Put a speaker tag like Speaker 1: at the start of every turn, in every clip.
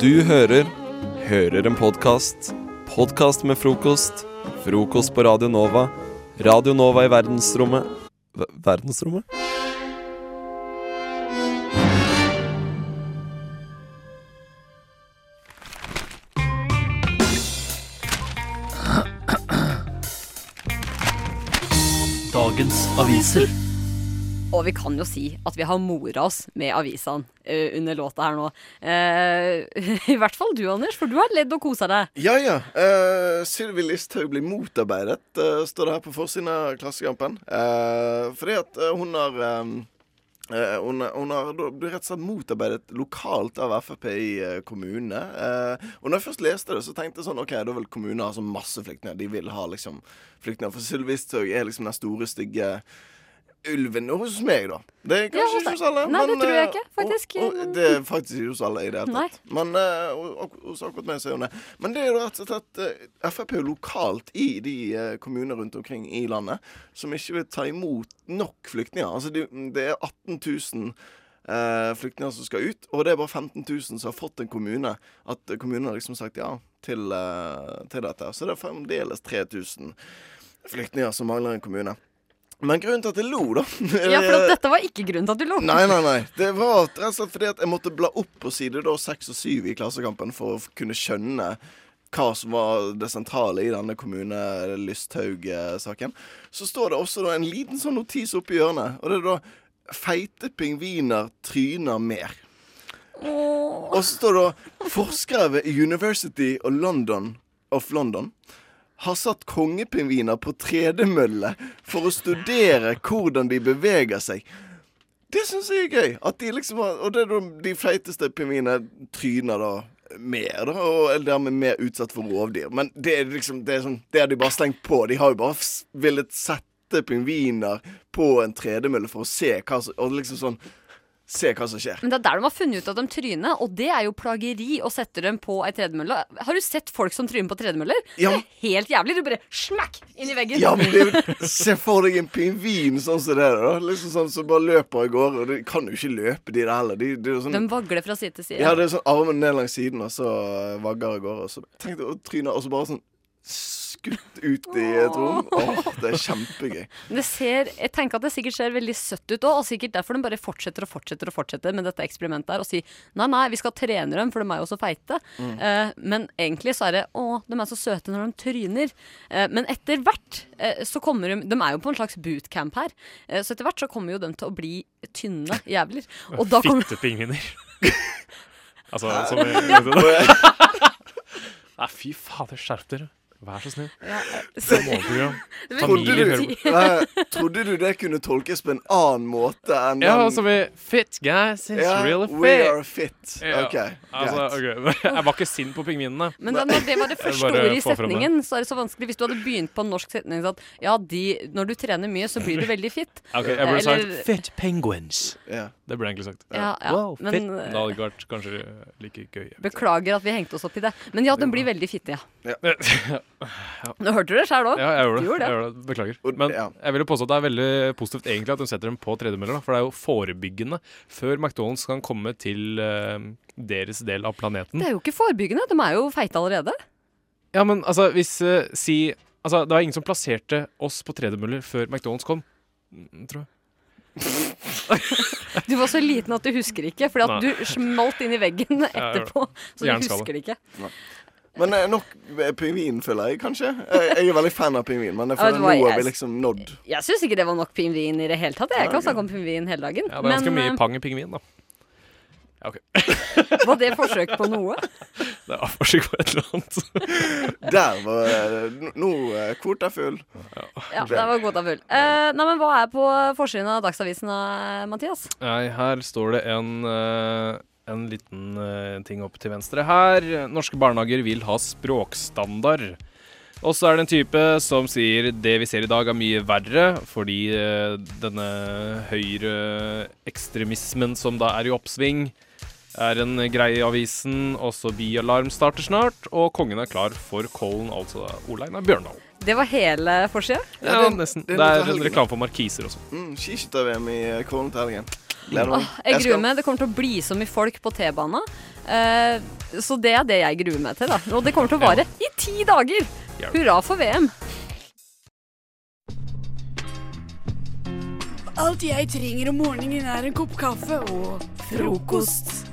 Speaker 1: Du hører Hører en podkast. Podkast med frokost. Frokost på Radio Nova. Radio Nova i verdensrommet Ver- Verdensrommet?
Speaker 2: Dagens aviser.
Speaker 3: Og vi kan jo si at vi har mora oss med avisene eh, under låta her nå. Eh, I hvert fall du, Anders, for du har ledd og kosa deg.
Speaker 4: Ja, ja. Uh, Sylvi Listhaug blir motarbeidet, eh, står det her på forsiden av Klassekampen. Eh, fordi at eh, hun har eh, eh, hun, hun har da blitt rett og slett motarbeidet lokalt av Frp i eh, kommunene. Eh, og når jeg først leste det, så tenkte jeg sånn OK, da vil kommunene ha sånn masse flyktninger. De vil ha liksom flyktninger. For Sylvi Listhaug er liksom den store, stygge ulven hos meg, da. Det er kanskje
Speaker 3: hos
Speaker 4: ikke hos
Speaker 3: deg.
Speaker 4: alle.
Speaker 3: altså, Nei, det tror jeg
Speaker 4: eh,
Speaker 3: ikke, faktisk.
Speaker 4: Og, og, det er faktisk ikke hos alle i det hele tatt. Men eh, og- og- hos akkurat meg så er hun det. Men det er jo rett og slett eh, Frp er jo lokalt i de eh, kommuner rundt omkring i landet som ikke vil ta imot nok flyktninger. Altså det, det er 18 000 eh, flyktninger som skal ut, og det er bare 15 000 som har fått en kommune. At kommunen har liksom sagt ja til, eh, til dette. Så det er fremdeles 3000 flyktninger som mangler en kommune. Men grunnen til at jeg lo, da
Speaker 3: Ja, for at dette var ikke grunnen til at du lo.
Speaker 4: Nei, nei, nei. Det var rett og slett fordi at jeg måtte bla opp på side da, 6 og 7 i Klassekampen for å kunne skjønne hva som var det sentrale i denne kommune Lysthaug-saken. Så står det også da en liten sånn notis oppe i hjørnet, og det er da 'Feite pingviner tryner mer'. Og så står det da 'Forskere ved University of London, of London har satt kongepingviner på tredemølle for å studere hvordan de beveger seg'. Det syns jeg er gøy. At de liksom har, og det er da de feiteste pingvinene tryner da mer, da, og er dermed mer utsatt for rovdyr. Men det er liksom Det, er sånn, det har de bare slengt på. De har jo bare s- villet sette pingviner på en tredemølle for å se hva som Og liksom sånn Se hva som skjer.
Speaker 3: Men det er der de har funnet ut at de tryner, og det er jo plageri å sette dem på ei tredemølle. Har du sett folk som tryner på tredemøller? Det
Speaker 4: Ja.
Speaker 3: er helt jævlig. Du bare smakk inn i veggen.
Speaker 4: Ja, men det, er jo- Se for deg en pingvin sånn som det, er, da. Liksom sånn som bare løper av gårde. Og de kan jo ikke løpe, de der heller. De, de er jo sånn,
Speaker 3: De vagler fra side til side.
Speaker 4: Ja, det er sånn armen ned langs siden, og så eh, vagger av gårde. Og så tenkte jeg å tryne, og så bare sånn skutt ut i et rom. Åh, det er kjempegøy.
Speaker 3: Men Det ser, jeg tenker at det sikkert ser veldig søtt ut òg, og sikkert derfor de bare fortsetter og fortsetter og fortsetter med dette eksperimentet her og sier nei, nei, vi skal trene dem, for de er jo så feite.
Speaker 5: Mm.
Speaker 3: Eh, men egentlig så er det å, de er så søte når de tryner. Eh, men etter hvert eh, så kommer de De er jo på en slags bootcamp her, eh, så etter hvert så kommer jo de til å bli tynne jævler. Og da kommer
Speaker 2: Fittepingviner. altså,
Speaker 3: Hæ?
Speaker 2: som i
Speaker 3: Ja.
Speaker 2: Nei, fy fader, skjerp dere. Vær så snill.
Speaker 3: Ja, eh,
Speaker 2: Det er morgenprogram.
Speaker 4: Trodde
Speaker 2: Familier hører
Speaker 4: du,
Speaker 2: på.
Speaker 4: nei, trodde du det kunne tolkes på en annen måte enn
Speaker 2: Ja,
Speaker 4: den-
Speaker 2: altså vi Fit guys, it's
Speaker 4: Ja,
Speaker 2: really
Speaker 4: we
Speaker 2: fit.
Speaker 4: are fit. Ok,
Speaker 2: altså, ok. Jeg var ikke sint på pingvinene.
Speaker 3: Men det, når det var det første
Speaker 2: Bare
Speaker 3: ordet i
Speaker 2: få fram det.
Speaker 3: setningen, så er det så vanskelig. Hvis du hadde begynt på en norsk setning sånn at ja, de, når du trener mye, så blir du veldig fit.
Speaker 2: Ok, jeg
Speaker 3: Eller-
Speaker 2: burde sagt Fit penguins. Det burde jeg egentlig sagt.
Speaker 3: Ja, ja,
Speaker 2: Wow,
Speaker 3: men- eh,
Speaker 2: fit. Det hadde ikke vært kanskje like gøy.
Speaker 3: Beklager at vi hengte oss opp i det. Men ja, den blir veldig fitte, ja.
Speaker 2: Ja.
Speaker 3: Nå hørte du det sjøl òg.
Speaker 2: Ja, jeg gjorde det.
Speaker 3: Du gjorde det.
Speaker 2: Jeg gjorde det. Beklager. Men jeg vil jo påstå at det er veldig positivt egentlig at hun setter dem på tredemøller, da, for det er jo forebyggende før McDonald's kan komme til eh, deres del av planeten.
Speaker 3: Det er jo ikke forebyggende. De er jo feite allerede.
Speaker 2: Ja, men altså, hvis eh, si Altså, det var ingen som plasserte oss på tredemøller før McDonald's kom, Mm, tror jeg.
Speaker 3: Du var så liten at du husker ikke, fordi
Speaker 2: Nei.
Speaker 3: at du smalt inn i veggen
Speaker 4: Ja, jeg gjorde det.
Speaker 3: etterpå. Så du
Speaker 4: Jernskalle.
Speaker 3: husker det ikke.
Speaker 4: Nei. Men eh, nok eh, pingvin, føler jeg kanskje. Jeg, jeg er veldig fan av pingvin, men jeg
Speaker 3: Ja, vet
Speaker 4: føler
Speaker 3: du hva,
Speaker 4: nå har vi
Speaker 3: jeg-
Speaker 4: liksom nådd.
Speaker 3: Jeg syns ikke det var nok pingvin i det hele tatt. Jeg
Speaker 2: Nei,
Speaker 3: kan
Speaker 2: ok.
Speaker 3: snakke om pingvin hele dagen.
Speaker 2: Ja, det er ganske mye
Speaker 3: Men
Speaker 2: pang i pingvin, da. Ja, OK.
Speaker 3: eh, var det forsøk på noe?
Speaker 2: Det er forsøk på et eller annet.
Speaker 4: Der var eh, n- Nå eh, kvota er full.
Speaker 3: Ja, det var godt av full. Eh, nei, men hva er på forsiden av Dagsavisen, eh, Mathias?
Speaker 2: Nei, her står det en, eh, en liten eh, ting opp til venstre her. Norske barnehager vil ha språkstandard. Og så er det en type som sier det vi ser i dag er mye verre, fordi eh, denne høyreekstremismen som da er i oppsving, er en greie i avisen. Også bialarm starter snart, og kongen er klar for Kollen, altså Oleinar Bjørndal.
Speaker 3: Det var hele forsida?
Speaker 2: Ja,
Speaker 4: det er-
Speaker 2: nesten.
Speaker 4: det
Speaker 2: Det
Speaker 4: er
Speaker 2: er
Speaker 4: litt av
Speaker 2: en
Speaker 4: helgen,
Speaker 2: reklame for markiser også.
Speaker 4: Mm, Skiskytter-VM i eh, Kålen til helgen. Gleder meg.
Speaker 3: Jeg
Speaker 4: skal-
Speaker 3: gruer meg. Det kommer til å bli så mye folk på T-banen. Eh, så det er det jeg gruer meg til. da Og det kommer til å vare i ti dager!
Speaker 2: Ja.
Speaker 3: Hurra for VM!
Speaker 5: Alt jeg trenger om morgenen er en kopp kaffe og frokost.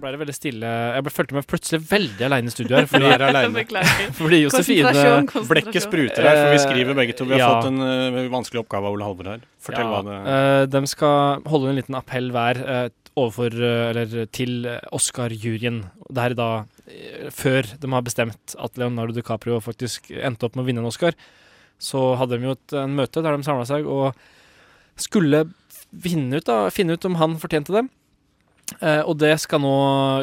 Speaker 6: Ble det veldig stille. Jeg ble, følte meg plutselig veldig aleine i studio her. Fordi,
Speaker 7: Beklager.
Speaker 6: fordi Josefine
Speaker 7: Konsentrasjon, konsentrasjon.
Speaker 8: Blekket spruter her, for vi
Speaker 6: Eh,
Speaker 8: skriver begge to. Vi har
Speaker 6: ja.
Speaker 8: fått en eh, vanskelig oppgave av Ole Halvor her. Fortell
Speaker 6: ja,
Speaker 8: hva det
Speaker 6: eh, De skal holde en liten appell hver eh, overfor, eh, eller til eh, Oscar-juryen. Og Det her er da eh, før de har bestemt at Leonardo DiCaprio faktisk endte opp med å vinne en Oscar. Så hadde de jo et en møte der de samla seg og skulle finne ut, da, finne ut om han fortjente det. Eh, og det skal nå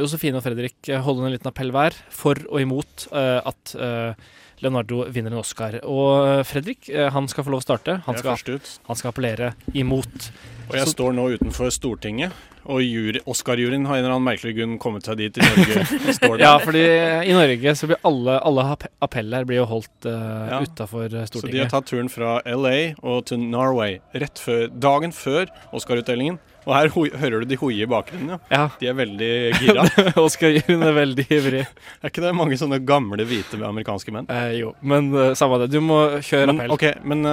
Speaker 6: Josefine og Fredrik eh, holde en liten appell hver for og imot eh, at eh, Leonardo vinner en Oscar. Og eh, Fredrik eh, han skal få lov å starte. Han
Speaker 8: Jeg er
Speaker 6: skal
Speaker 8: først ut.
Speaker 6: han skal appellere imot.
Speaker 8: Og jeg
Speaker 6: Så-
Speaker 8: står nå utenfor Stortinget, og jury- Oscar-juryen har en eller annen merkelig grunn kommet seg dit i Norge. og står der.
Speaker 6: Ja, fordi i Norge så blir alle, alle app- appeller blir jo holdt uh,
Speaker 8: Ja.
Speaker 6: utafor
Speaker 8: Så de har
Speaker 6: Stortinget.
Speaker 8: tatt turen fra LA og til Norway rett før, dagen før Oscar-utdelingen. Og her hoi- hører du de hoie i bakgrunnen, ja.
Speaker 6: Ja,
Speaker 8: De er veldig gira.
Speaker 6: Oscar-juryen er veldig ivrig.
Speaker 8: Er ikke det mange sånne gamle, hvite amerikanske menn?
Speaker 6: Eh, jo, men eh, samme det. Du må kjøre
Speaker 8: Men,
Speaker 6: appell.
Speaker 8: OK, men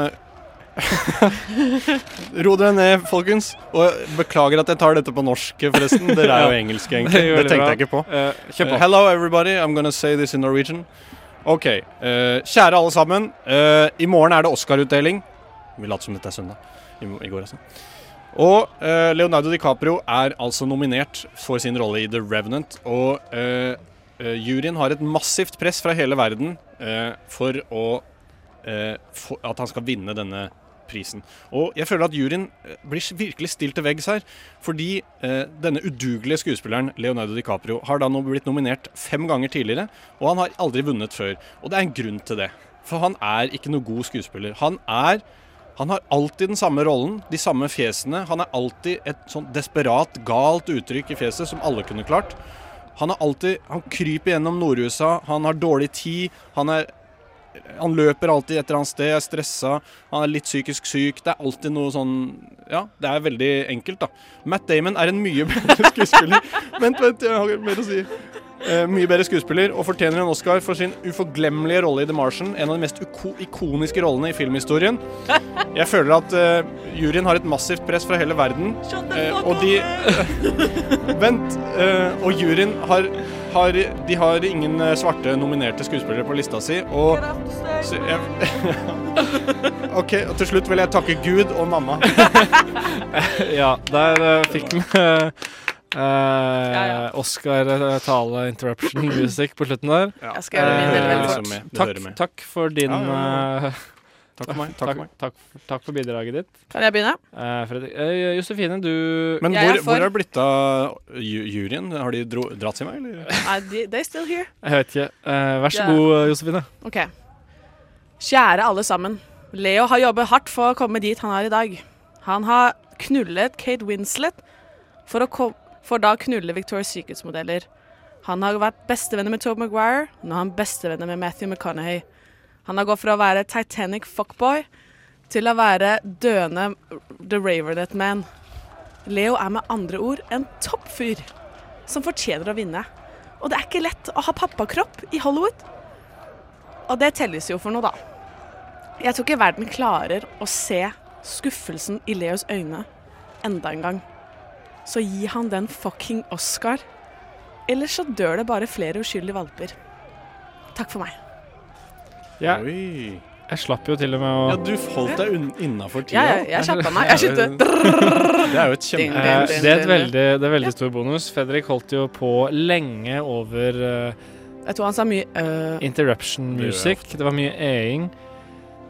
Speaker 8: eh, Ro dere ned, folkens. Og beklager at jeg tar dette på norsk, forresten. Dere er jo engelske, egentlig.
Speaker 6: Det gjør
Speaker 8: Det
Speaker 6: det
Speaker 8: tenkte
Speaker 6: bra.
Speaker 8: jeg ikke på.
Speaker 6: Eh, kjør
Speaker 8: Uh,
Speaker 6: på.
Speaker 8: hello everybody, I'm gonna say this in Norwegian. Ok, eh, kjære alle sammen. eh, I morgen er det Oscar-utdeling. Vi later som dette er søndag. I, mo- i går, altså. Og eh, Leonardo DiCaprio er altså nominert for sin rolle i The Revenant. Og eh, eh, juryen har et massivt press fra hele verden eh, for å eh, få- at han skal vinne denne prisen. Og jeg føler at juryen eh, blir s- virkelig stilt til veggs her. Fordi eh, denne udugelige skuespilleren Leonardo DiCaprio har da nå blitt nominert fem ganger tidligere, og han har aldri vunnet før. Og det er en grunn til det. For han er ikke noe god skuespiller. Han er han har alltid den samme rollen, de samme fjesene. Han er alltid et sånn desperat, galt uttrykk i fjeset som alle kunne klart. Han er alltid Han kryper gjennom Nord-USA, han har dårlig tid, han er han løper alltid et eller annet sted, er stressa, han er litt psykisk syk. Det er alltid noe sånn Ja, det er veldig enkelt, da. Matt Damon er en mye bedre skuespiller. vent, vent, jeg har mer å si. Eh, mye bedre skuespiller og fortjener en Oscar for sin uforglemmelige rolle i The Martian. En av de mest uko ikoniske rollene i filmhistorien. Jeg føler at eh, juryen har et massivt press fra hele verden. eh, og de Vent. eh, og juryen har, har De har ingen eh, svarte nominerte skuespillere på lista si, og så jeg, OK, og til slutt vil jeg takke Gud og mamma.
Speaker 6: Ja, der eh, fikk vi eh,
Speaker 7: ja.
Speaker 6: Oscar-tale-interruption music på slutten der.
Speaker 7: Jeg skal gjøre min del
Speaker 6: Eh,
Speaker 7: veldig
Speaker 8: liksom
Speaker 7: fort.
Speaker 8: med. Det
Speaker 6: Takk,
Speaker 8: hører med.
Speaker 6: takk for din
Speaker 8: Ja, ja,
Speaker 6: eh,
Speaker 8: Takk for meg. Takk
Speaker 6: takk,
Speaker 8: for meg.
Speaker 6: takk, takk for bidraget ditt.
Speaker 7: Kan jeg begynne?
Speaker 6: Eh, Fredrik, eh, Josefine, du
Speaker 8: Men
Speaker 7: Jeg
Speaker 8: hvor,
Speaker 7: er for-
Speaker 8: hvor er det blitt av ju- juryen? Har de dro, dratt sin vei, eller?
Speaker 7: Nei, de, they still here.
Speaker 6: Jeg vet ikke. Eh, vær så
Speaker 7: Ja.
Speaker 6: god, eh, Josefine.
Speaker 7: Ok. Kjære alle sammen. Leo har jobbet hardt for å komme dit han er i dag. Han har knullet Kate Winslet for, å kom, for da å knulle Victoria's Secrets-modeller. Han har vært bestevenner med Tove Maguire, nå er han bestevenner med Matthew McConaughey. Han har gått fra å være Titanic fuckboy til å være døende The Ravenet Man. Leo er med andre ord en toppfyr som fortjener å vinne. Og det er ikke lett å ha pappakropp i Hollywood. Og det telles jo for noe, da. Jeg tror ikke verden klarer å se skuffelsen i Leos øyne enda en gang. Så gi han den fucking Oscar. Ellers så dør det bare flere uskyldige valper. Takk for meg.
Speaker 6: Ja.
Speaker 8: Oi.
Speaker 6: Jeg slapp jo til og med å
Speaker 8: Ja, du holdt deg un- innafor tida.
Speaker 7: Ja, ja, jeg kjappa meg. Jeg
Speaker 8: Det er
Speaker 7: skyndte.
Speaker 8: jo- Det er jo et
Speaker 7: Ding,
Speaker 8: kjempe...
Speaker 6: Eh,
Speaker 7: ding,
Speaker 6: det er et
Speaker 7: ding, ding.
Speaker 6: veldig, det er veldig stor bonus. Fredrik holdt jo på lenge over eh,
Speaker 7: Jeg tror han sa mye øh.
Speaker 6: interruption
Speaker 8: Det gjør jeg
Speaker 6: music. Det var mye e-ing.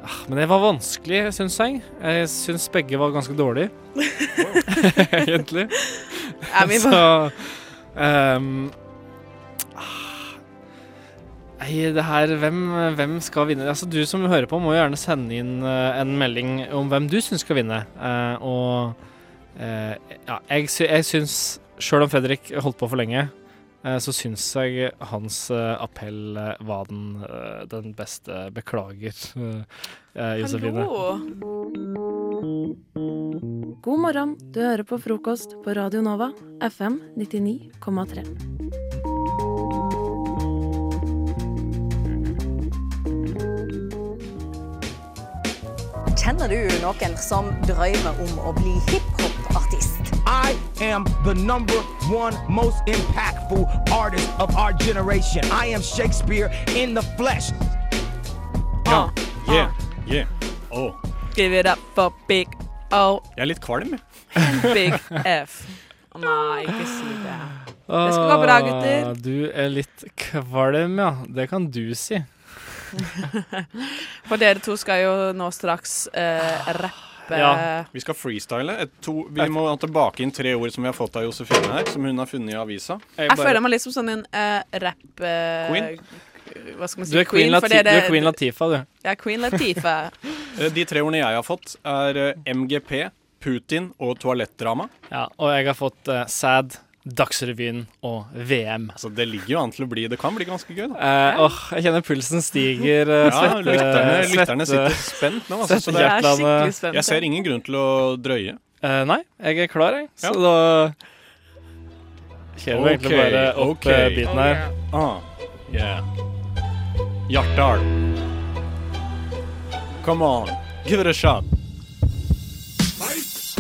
Speaker 6: Ah, Men det var vanskelig, syns jeg. Jeg syns begge var ganske dårlige. Egentlig.
Speaker 7: Ja, vi
Speaker 6: Så
Speaker 7: må-
Speaker 6: ehm, ah, Nei, det her hvem, hvem skal vinne? Altså, du som hører på, må jo gjerne sende inn eh, en melding om hvem du syns skal vinne. Eh, og eh, ja, jeg, sy jeg syns Sjøl om Fredrik holdt på for lenge, eh, så syns jeg hans eh, appell eh, var den, eh, den beste. Beklager, eh, eh, Josefine.
Speaker 7: Hallo.
Speaker 9: God morgen, du hører på frokost på Radio Nova, FM 99,3.
Speaker 10: Kjenner du noen som drømmer om å bli hiphop-artist?
Speaker 11: I am the number one most impactful artist of our generation. I am Shakespeare in the flesh.
Speaker 8: Ja. Yeah. Yeah. Oh.
Speaker 7: Give it up for big O,
Speaker 8: Jeg er litt kvalm, jeg.
Speaker 7: big F. Å Nei, ikke si det. Det skal gå bra,
Speaker 6: Ah,
Speaker 7: gutter.
Speaker 6: Du er litt kvalm, ja. Det kan du si.
Speaker 7: For dere to skal jo nå straks eh, rappe.
Speaker 6: Ja.
Speaker 8: Vi skal freestyle. Et, to, vi må ha tilbake inn tre ord som vi har fått av Josefine her, som hun har funnet i avisa.
Speaker 7: Jeg føler meg litt som sånn en eh, rapp... eh,
Speaker 8: Queen?
Speaker 7: Hva skal man si?
Speaker 6: Du er Queen,
Speaker 7: for
Speaker 6: Lati
Speaker 7: dere-
Speaker 6: du er Queen Latifa, du.
Speaker 7: Ja, Queen Latifa.
Speaker 8: Eh, De tre ordene jeg har fått, er eh, MGP, Putin og toalettdrama.
Speaker 6: Ja, og jeg har fått eh, SAD, Dagsrevyen og VM.
Speaker 8: Altså, det ligger jo an til å bli Det kan bli ganske gøy, da.
Speaker 6: Eh, Åh, jeg kjenner pulsen stiger. eh,
Speaker 8: Ja,
Speaker 6: svette-
Speaker 8: lytterne, lytterne
Speaker 6: svette-
Speaker 8: sitter spent nå. Altså,
Speaker 6: svette
Speaker 8: så det er,
Speaker 7: Jeg er skikkelig
Speaker 6: hjertene.
Speaker 7: spent.
Speaker 8: jeg ser ingen grunn til å drøye.
Speaker 6: Eh, nei, jeg er klar, jeg. Så
Speaker 8: Ja.
Speaker 6: da kjører vi egentlig
Speaker 8: Ok,
Speaker 6: bare opp
Speaker 8: ok.
Speaker 6: eh, biten her.
Speaker 8: Ah, yeah. Hjartdal. Come on, give it a shot.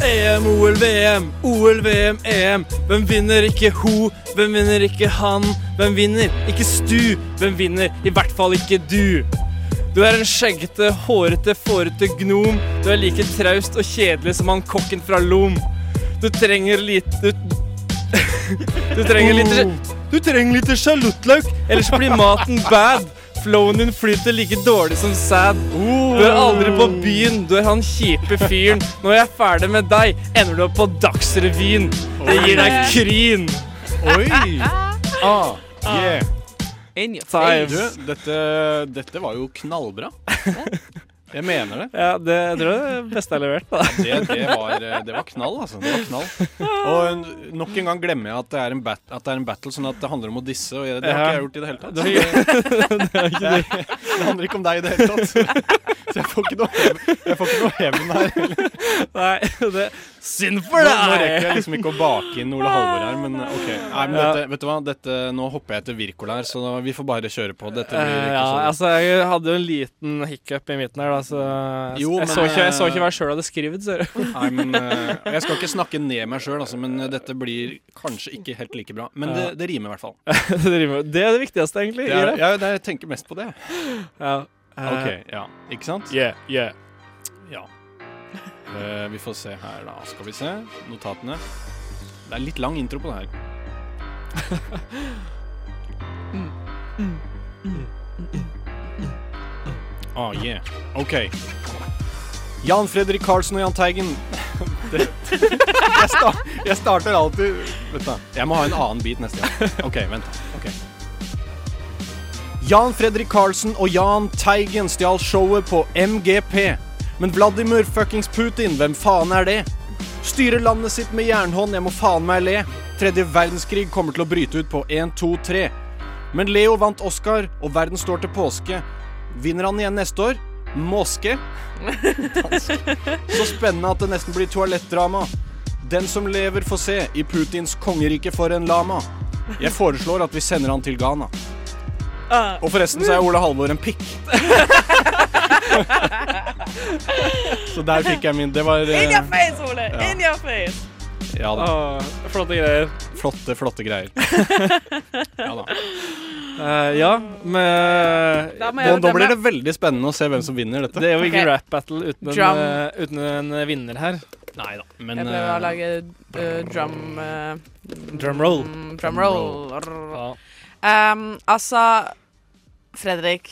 Speaker 8: E
Speaker 6: EM, OL, VM, OL, VM, EM. E Hvem vinner ikke ho? Hvem vinner ikke han? Hvem vinner ikke Stu? Hvem vinner i hvert fall ikke du? Du er en skjeggete, hårete, fårete gnom. Du er like traust og kjedelig som han kokken fra Lom. Du trenger litt Du, du trenger litt Du trenger litt sjalottløk, ellers blir maten bad. Flowen din flyter like dårlig som sæd. Du er aldri på byen, du er han kjipe fyren. Når jeg er ferdig med deg, ender du opp på Dagsrevyen. Det gir deg kryn.
Speaker 8: Oi! E Ah, yeah.
Speaker 7: In your
Speaker 8: Du,
Speaker 7: face.
Speaker 8: dette, dette var jo knallbra. Jeg mener det.
Speaker 6: Ja, det jeg tror jeg er det beste jeg har levert. Da.
Speaker 8: Det, det, var,
Speaker 6: eh,
Speaker 8: det var knall, altså. Det var knall. Og en- nok en gang glemmer jeg at det er en, bat, at det er en battle, sånn at det handler om å disse. Og jeg, det
Speaker 6: Ja.
Speaker 8: har ikke jeg gjort i det hele tatt. Det, det handler ikke om deg i det hele tatt. Så jeg får ikke noe hev- jeg får ikke noe hevn her.
Speaker 6: Nei, det Synd
Speaker 8: Nå,
Speaker 6: for
Speaker 8: nå rekker
Speaker 6: deg!
Speaker 8: jeg liksom ikke å bake inn Ole Halvor her, men OK. Nei, men dette, vet du hva? Dette, nå hopper jeg etter Wirkola her, så da- vi får bare kjøre på. Dette blir
Speaker 6: Eh,
Speaker 8: ikke
Speaker 6: ja,
Speaker 8: så
Speaker 6: altså, jeg hadde jo en liten hiccup i midten her, da, så jeg,
Speaker 8: Jo,
Speaker 6: jeg,
Speaker 8: men,
Speaker 6: så ikke, jeg så
Speaker 8: eh,
Speaker 6: ikke hva jeg sjøl hadde skrevet. Så.
Speaker 8: Nei, men eh, Jeg skal ikke snakke ned meg sjøl, altså, men dette blir kanskje ikke helt like bra. Men det, det rimer i hvert fall.
Speaker 6: det rimer. Det er det viktigste, egentlig. i
Speaker 8: Det er,
Speaker 6: rap.
Speaker 8: ja, det er, jeg tenker mest på det.
Speaker 6: Ja. Eh,
Speaker 8: OK. Ja. Ikke sant?
Speaker 6: Yeah, yeah.
Speaker 8: Ja. Eh, vi får se her, da. Skal vi se. Notatene. Det er litt lang intro på det her. Ah, yeah. OK. Jan Fredrik Karlsen og Jahn Teigen. Det- Jeg, sta jeg starter alltid Vent, da. Jeg må ha en annen bit neste gang. OK, vent. da. Ok. Jan Fredrik Karlsen og Jahn Teigen stjal showet på MGP. Men Vladimir fuckings Putin, hvem faen er det? Styrer landet sitt med jernhånd, jeg må faen meg le. Tredje verdenskrig kommer til å bryte ut på 1, 2, 3. Men Leo vant Oscar, og verden står til påske. Vinner han igjen neste år? Måske? Dansk. Så spennende at det nesten blir toalettdrama. Den som lever, får se. I Putins kongerike for en lama. Jeg foreslår at vi sender han til Ghana.
Speaker 7: Ah.
Speaker 8: Og forresten så er Ole Halvor en pikk. så der fikk jeg min. Det var
Speaker 7: In your
Speaker 8: eh,
Speaker 7: face, Ole! In your face!
Speaker 8: ja da,
Speaker 6: Åh, flotte greier.
Speaker 8: flotte, flotte greier. Ja da.
Speaker 6: Eh, ja, men
Speaker 7: Da må
Speaker 8: Nå,
Speaker 7: jeg
Speaker 8: nå blir
Speaker 7: bedømme.
Speaker 8: det veldig spennende å se hvem som vinner dette.
Speaker 6: Det er jo ikke
Speaker 7: Ok.
Speaker 6: rap battle uten en,
Speaker 7: Drum.
Speaker 6: eh, uten en eh, vinner her.
Speaker 8: Nei da, men
Speaker 7: Jeg prøver å
Speaker 8: eh,
Speaker 7: lage eh, drum... eh,
Speaker 6: Drum roll.
Speaker 7: mm, Drum roll.
Speaker 6: Ja.
Speaker 7: Um, altså Fredrik,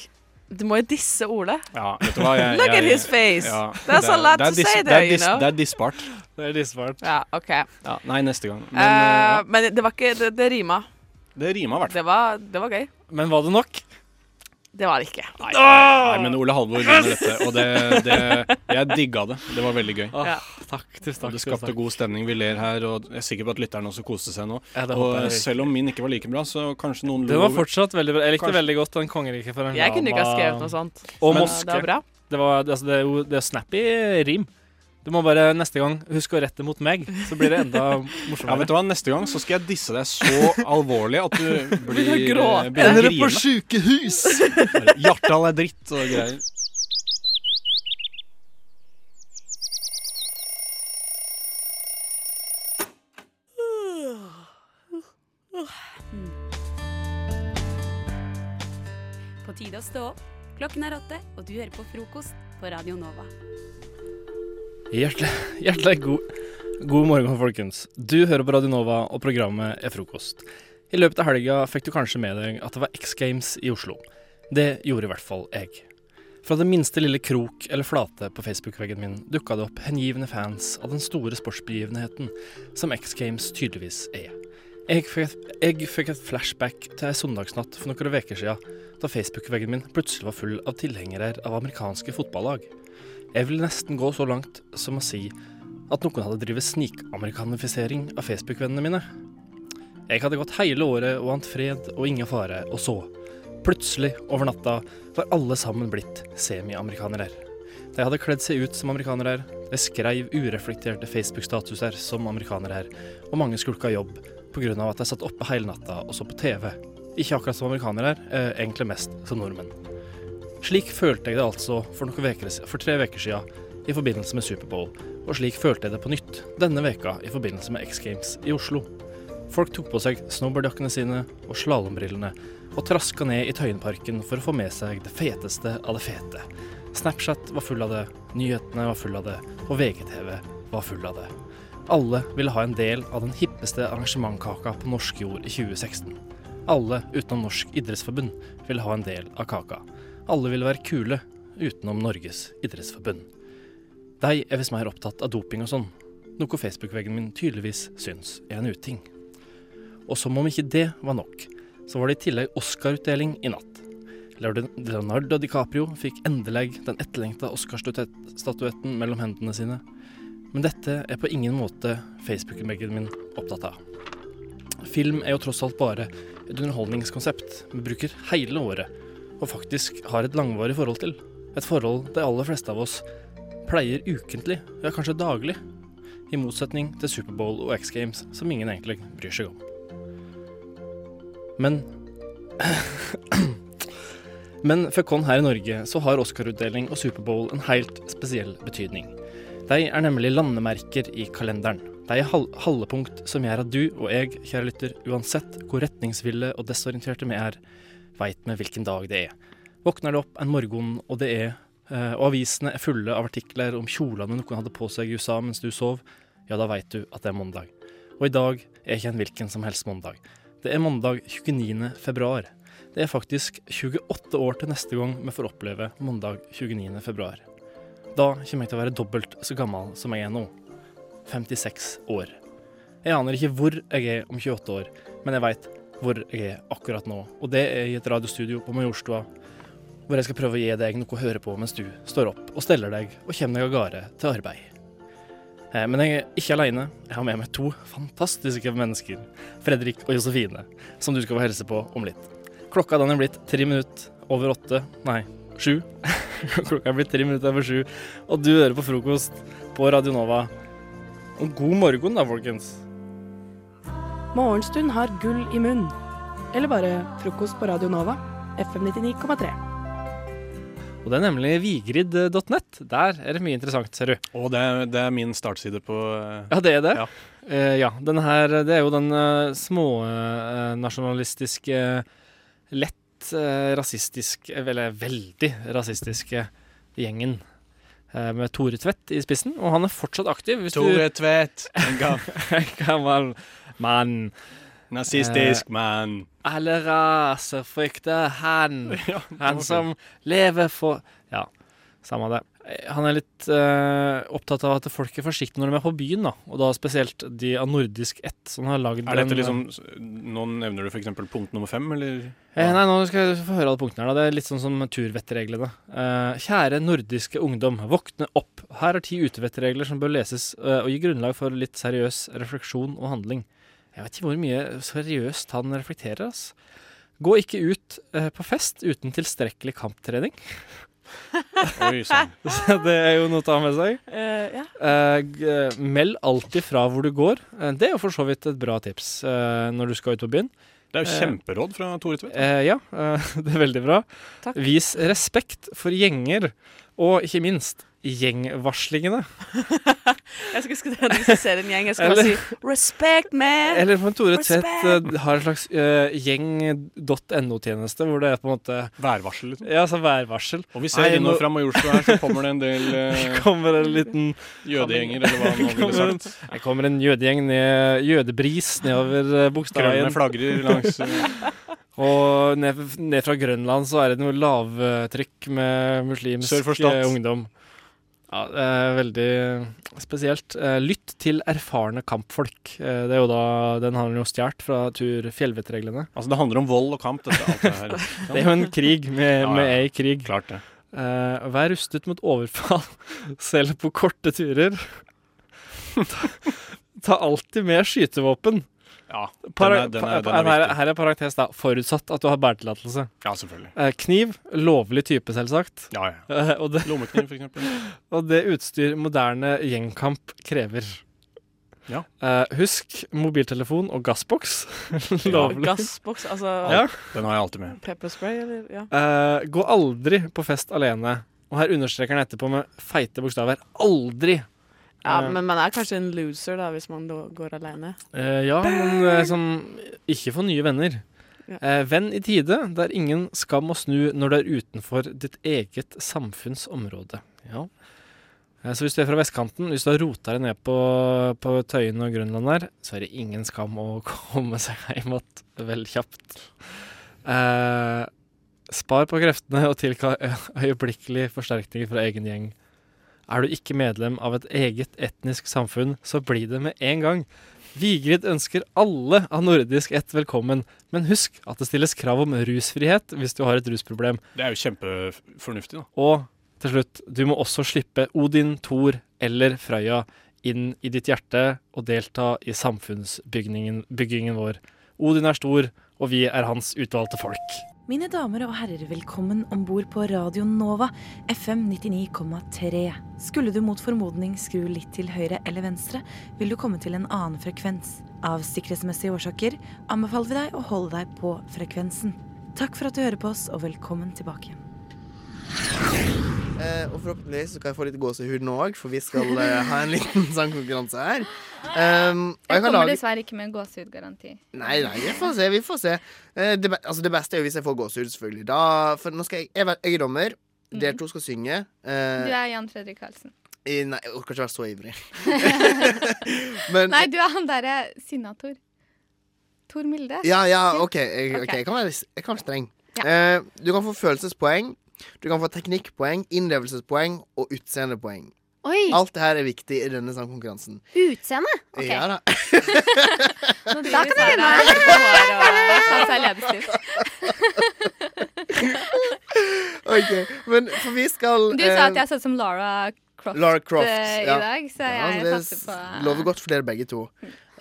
Speaker 7: du må jo disse Ole.
Speaker 8: ja, vet du hva, jeg,
Speaker 7: Look at
Speaker 8: jeg,
Speaker 7: his face!
Speaker 8: ja,
Speaker 7: That's
Speaker 8: det er-
Speaker 7: a lot
Speaker 8: det er
Speaker 7: to
Speaker 8: det
Speaker 7: say
Speaker 8: er
Speaker 7: there, you
Speaker 8: dis-
Speaker 7: know.
Speaker 8: Det er dissbart.
Speaker 6: Det er dissvart.
Speaker 7: Ja, OK.
Speaker 8: Ja, nei, neste gang. Men
Speaker 7: Men,
Speaker 8: eh, ja,
Speaker 7: men det var ikke Det, det rima.
Speaker 8: det rima i hvert fall.
Speaker 7: Det var, det var gøy.
Speaker 6: Men var det nok? Ah!
Speaker 7: Det var det ikke.
Speaker 8: Nei, nei, men Ole Halvor vinner dette, og det, det Jeg digga det. Det var veldig gøy.
Speaker 6: Åh,
Speaker 7: Ja.
Speaker 6: Ah, Takk, tusen takk.
Speaker 8: Det
Speaker 6: tusen
Speaker 8: skapte
Speaker 6: takk.
Speaker 8: god stemning. Vi ler her, og jeg er sikker på at lytteren også koste seg nå.
Speaker 6: Ja, det håper
Speaker 8: Og
Speaker 6: jeg virkelig.
Speaker 8: selv om min ikke var like bra, så kanskje noen
Speaker 6: Den var
Speaker 8: lurer over-
Speaker 6: fortsatt veldig bra. Jeg likte
Speaker 8: Kanskje-
Speaker 6: veldig godt den kongeriket for en
Speaker 7: Jeg kunne ikke ha
Speaker 6: lama.
Speaker 7: skrevet noe sånt.
Speaker 6: Og
Speaker 7: Men
Speaker 6: moske.
Speaker 7: Det var bra.
Speaker 6: Det, var, altså, det er jo det er snappy rim. Du må bare neste gang huske å rette mot meg, så blir det enda morsommere.
Speaker 8: Ja, vet du hva? Neste gang så skal jeg disse deg så alvorlig at du blir eh,
Speaker 6: Begynner å gråte. Ender
Speaker 8: begynner å
Speaker 6: opp på
Speaker 8: grine. Bare, Hjartdal er dritt og greier.
Speaker 12: hmm. På tide å stå opp. Klokken er åtte, og du hører på frokost på Radio Nova.
Speaker 6: Hjertelig, hjertelig god, god morgen, folkens. Du hører på Radionova, og programmet er frokost. I løpet av helga fikk du kanskje med deg at det var X Games i Oslo. Det gjorde i hvert fall jeg. Fra det minste lille krok eller flate på Facebook-veggen min dukka det opp hengivne fans av den store sportsbegivenheten som X Games tydeligvis er. Jeg fikk, et, jeg fikk et flashback til ei søndagsnatt for noen uker siden, da Facebook-veggen min plutselig var full av tilhengere av amerikanske fotballag. Jeg vil nesten gå så langt som å si at noen hadde drevet snikamerikanifisering av Facebook-vennene mine. Jeg hadde gått hele året og ant fred og ingen fare, og så, plutselig over natta, var alle sammen blitt semi-amerikanere. De hadde kledd seg ut som amerikanere, de skreiv ureflekterte Facebook-statuser som amerikanere, og mange skulka jobb pga. at de satt oppe hele natta og så på TV. Ikke akkurat som amerikanere, eh, egentlig mest som nordmenn. Slik følte jeg det altså for, noen veker, for tre uker siden i forbindelse med Superbowl, og slik følte jeg det på nytt denne veka i forbindelse med X Games i Oslo. Folk tok på seg snowboardjakkene sine og slalåmbrillene og traska ned i Tøyenparken for å få med seg det feteste av det fete. Snapchat var full av det, nyhetene var full av det, og VGTV var full av det. Alle ville ha en del av den hippeste arrangementkaka på norsk jord i 2016. Alle utenom Norsk idrettsforbund ville ha en del av kaka. Alle ville være kule utenom Norges idrettsforbund. De er visst mer opptatt av doping og sånn, noe Facebook-veggen min tydeligvis syns er en uting. Og som om ikke det var nok, så var det i tillegg Oscar-utdeling i natt. Leonardo- Leonardo DiCaprio fikk endelig den etterlengta Oscar-statuetten mellom hendene sine. Men dette er på ingen måte Facebook-veggen min opptatt av. Film er jo tross alt bare et underholdningskonsept vi bruker hele året, og faktisk har et langvarig forhold til. Et forhold de aller fleste av oss pleier ukentlig, ja kanskje daglig. I motsetning til Superbowl og X Games, som ingen egentlig bryr seg om. Men Men for oss her i Norge så har Oscar-utdeling og Superbowl en helt spesiell betydning. De er nemlig landemerker i kalenderen. De er hal- halvepunkt som gjør at du og jeg, kjære lytter, uansett hvor retningsville og desorienterte vi er, veit vi hvilken dag det er. Våkner det opp en morgen, og det er eh, Og avisene er fulle av artikler om kjolene noen hadde på seg i USA mens du sov, ja, da veit du at det er mandag. Og i dag er ikke en hvilken som helst mandag. Det er mandag 29. februar. Det er faktisk 28 år til neste gang vi får oppleve mandag 29. februar. Da kommer jeg til å være dobbelt så gammel som jeg er nå. 56 år. Jeg aner ikke hvor jeg er om 28 år, men jeg veit hvor jeg er akkurat nå. Og det er i et radiostudio på Majorstua, hvor jeg skal prøve å gi deg noe å høre på mens du står opp og steller deg og kommer deg av gårde til arbeid. Eh, Men jeg er ikke aleine. Jeg har med meg to fantastiske mennesker. Fredrik og Josefine, som du skal få hilse på om litt. Klokka den er blitt tre minutter over åtte. Nei, sju. Klokka er blitt tre minutter over sju, og du hører på frokost på Radio Nova. Og god morgen, da, folkens.
Speaker 13: Morgenstund har gull i munn. Eller bare frokost på Radio Nova. FM 99,3.
Speaker 6: Og det er nemlig vigrid.nett. Der er det mye interessant, ser du.
Speaker 8: Og det er, det er min startside på eh,
Speaker 6: Ja, det er det.
Speaker 8: Ja.
Speaker 6: Eh, ja den her, det er jo den uh, smånasjonalistiske, lett eh, rasistiske, eller veldig rasistiske gjengen. eh, Med Tore Tvedt i spissen, og han er fortsatt aktiv. hvis du-
Speaker 8: Tore Tvedt, en ga-
Speaker 6: En gammel mann. Eh,
Speaker 8: Nazistisk mann.
Speaker 6: Alle raser frykter han. han
Speaker 8: var
Speaker 6: som lever for Ja, samme det. Eh, Han er litt eh, opptatt av at folk er forsiktige når de er på byen, da. Og da spesielt de av nordisk ett som har lagd
Speaker 8: Er dette
Speaker 6: en-
Speaker 8: liksom Nå nevner du f.eks. punkt nummer fem, eller?
Speaker 6: Eh, nei, nå skal du få høre alle punktene her. da. Det er litt sånn som turvettreglene. Eh, kjære nordiske ungdom, våkne opp. Her er ti utevettregler som bør leses eh, og gi grunnlag for litt seriøs refleksjon og handling. Jeg vet ikke hvor mye seriøst han reflekterer, ass. Gå ikke ut eh, på fest uten tilstrekkelig kamptrening.
Speaker 8: Oi, sann.
Speaker 6: Så det er jo noe å ta med seg.
Speaker 7: Eh, ja.
Speaker 6: Eh, g- eh, meld alltid fra hvor du går. Eh, det er jo for så vidt et bra tips eh, når du skal ut på byen.
Speaker 8: Det er jo kjemperåd fra Tore Tvedt.
Speaker 6: Eh, ja, eh, det er veldig bra.
Speaker 8: Takk.
Speaker 6: Vis respekt for gjenger, og ikke minst gjengvarslingene.
Speaker 7: Jeg skal huske det når jeg skal se en gjeng. Jeg skal bare
Speaker 6: Eller-
Speaker 7: si 'respect, man'.
Speaker 6: Eller om Tore
Speaker 7: Respect.
Speaker 6: Tvedt eh, har en slags eh, gjeng.no-tjeneste, hvor det er på en måte
Speaker 8: Værvarsel, liksom.
Speaker 6: Ja, altså værvarsel.
Speaker 8: Og vi ser innover fra Majorstua her, så kommer det en del eh,
Speaker 6: Det kommer en liten
Speaker 8: jødegjenger, eller hva man ville
Speaker 6: Kommer en-
Speaker 8: sagt.
Speaker 6: Det kommer en jødegjeng ned Jødebris nedover eh, Bogstadveien.
Speaker 8: Grønne flagrer langs, eh.
Speaker 6: Og ned, ned fra Grønland så er det noe lavtrykk med
Speaker 8: Sør for
Speaker 6: muslimsk
Speaker 8: Stad.
Speaker 6: eh, ungdom. Ja, det er veldig spesielt. Eh, Lytt til erfarne kampfolk. Eh, Det er jo da, Den har han jo stjålet fra tur fjellvettreglene.
Speaker 8: Altså, det handler om vold og kamp, dette. Alt det her.
Speaker 6: Det er jo en krig med,
Speaker 8: Ja, ja.
Speaker 6: med ei krig.
Speaker 8: Klart det.
Speaker 6: Eh, vær rustet mot overfall, selv på korte turer. ta, ta alltid med skytevåpen.
Speaker 8: Ja, den
Speaker 6: Para,
Speaker 8: er- den er-
Speaker 6: pa-
Speaker 8: den er
Speaker 6: her,
Speaker 8: viktig.
Speaker 6: her er parentes, da. Forutsatt at du har bæretillatelse.
Speaker 8: Ja, selvfølgelig.
Speaker 6: Eh, kniv, lovlig type, selvsagt.
Speaker 8: Ja,
Speaker 6: Eh, og det,
Speaker 8: Lommekniv, for eksempel.
Speaker 6: og det utstyr moderne gjengkamp krever.
Speaker 8: Ja.
Speaker 6: Eh, husk mobiltelefon og gassboks.
Speaker 7: Ja, gassboks, altså
Speaker 6: Ja.
Speaker 8: Den har jeg alltid med.
Speaker 7: Pepperspray, eller? Ja.
Speaker 6: Eh, gå aldri på fest alene. Og her understreker han etterpå med feite bokstaver. Aldri!
Speaker 7: ja,
Speaker 6: Eh,
Speaker 7: men man er kanskje en loser, da, hvis man da går alene.
Speaker 6: eh, ja, men eh, sånn Ikke få nye venner.
Speaker 7: Ja.
Speaker 6: Eh, venn i tide. Det er ingen skam å snu når du er utenfor ditt eget samfunns område. Ja. Eh, Så hvis du er fra vestkanten, hvis du har rota deg ned på, på Tøyen og Grønland der, så er det ingen skam å komme seg hjem igjen vel kjapt. Eh, spar på kreftene og tilkall ø- øyeblikkelig forsterkninger fra egen gjeng. Er du ikke medlem av et eget etnisk samfunn, så bli det med en gang. Vigrid ønsker alle av nordisk ett velkommen, men husk at det stilles krav om rusfrihet hvis du har et rusproblem.
Speaker 8: Det er jo kjempefornuftig, da.
Speaker 6: Og til slutt, du må også slippe Odin, Thor eller Frøya inn i ditt hjerte og delta i samfunnsbyggingen byggingen vår. Odin er stor, og vi er hans utvalgte folk.
Speaker 9: Mine damer og herrer, velkommen om bord på Radio Nova, FM 99,3. Skulle du mot formodning skru litt til høyre eller venstre, vil du komme til en annen frekvens. Av sikkerhetsmessige årsaker anbefaler vi deg å holde deg på frekvensen. Takk for at du hører på oss, og velkommen tilbake.
Speaker 14: Eh, og forhåpentligvis så kan jeg få litt gåsehud nå òg, for vi skal eh, ha en liten sangkonkurranse her. Um, og
Speaker 15: Jeg
Speaker 14: jeg kan
Speaker 15: kommer
Speaker 14: lage
Speaker 15: dessverre ikke med gåsehudgaranti.
Speaker 14: Nei, nei, vi får se. Vi får se. Eh, det, be altså, det beste er jo hvis jeg får gåsehud, selvfølgelig. Da, for nå skal jeg, jeg, vet- jeg er dommer.
Speaker 3: Mm.
Speaker 14: Dere to skal synge.
Speaker 15: Du
Speaker 14: Eh,
Speaker 15: er Jan Fredrik Karlsen.
Speaker 14: i, nei, jeg orker ikke være så ivrig. Men
Speaker 15: Nei, du er han derre sinna-Tor. Tor Milde.
Speaker 14: Ja, ja, OK. Jeg, ok,
Speaker 15: Ok.
Speaker 14: jeg, kan, være, jeg kan være streng. Eh, du kan få følelsespoeng, du kan få teknikkpoeng, innlevelsespoeng og utseendepoeng.
Speaker 16: Oi.
Speaker 14: Alt det her er viktig i denne sangkonkurransen.
Speaker 16: Utseende? Ok.
Speaker 14: Ja da.
Speaker 16: Da kan jeg vinne.
Speaker 14: OK. Men for vi skal
Speaker 15: Du sa
Speaker 14: eh,
Speaker 15: at jeg så ut som Lara Croft,
Speaker 14: Lara Croft
Speaker 15: eh, i
Speaker 14: ja.
Speaker 15: dag, så
Speaker 14: Ja,
Speaker 15: jeg
Speaker 14: det
Speaker 15: satser på eh, Mm.
Speaker 14: lover godt for dere begge to.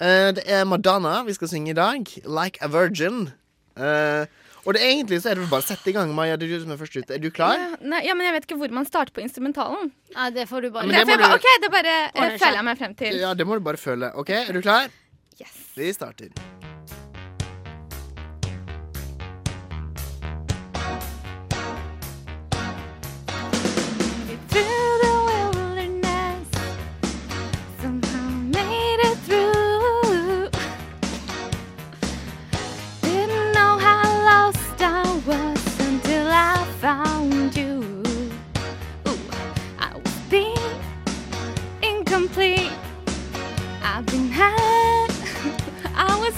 Speaker 14: Eh, det er Madonna vi skal synge i dag. 'Like a Virgin'. Eh, og det er egentlig så er det vel bare å sette i gang, Maja. Det er du som er først ute. Er du klar?
Speaker 15: Ja, nei, ja, men jeg vet ikke hvor man starter på instrumentalen.
Speaker 16: Nei, det får du bare
Speaker 14: Ja, men det må
Speaker 15: jeg, bare-
Speaker 14: du-
Speaker 15: OK, det bare
Speaker 16: Ordner
Speaker 15: eh,
Speaker 16: seg.
Speaker 15: føler jeg meg frem til.
Speaker 14: Ja, det må du bare føle. OK, er du klar? Vi starter.
Speaker 16: Through the wilderness, somehow made it through. Didn't know how lost I was until I found you. Ooh, I was being incomplete. I've been hurt. I was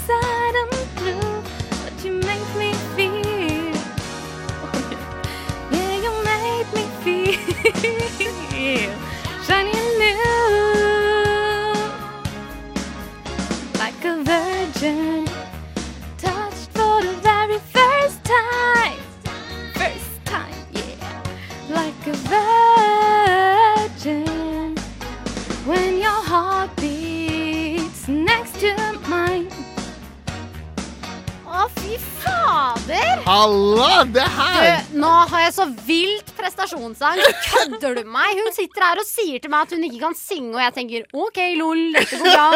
Speaker 17: Fy fader!
Speaker 14: Halla, det her!
Speaker 17: Du, nå har jeg så vilt prestasjonsangst. Kødder du meg? Hun sitter her og sier til meg at hun ikke kan synge, og jeg tenker OK, lol, dette går bra.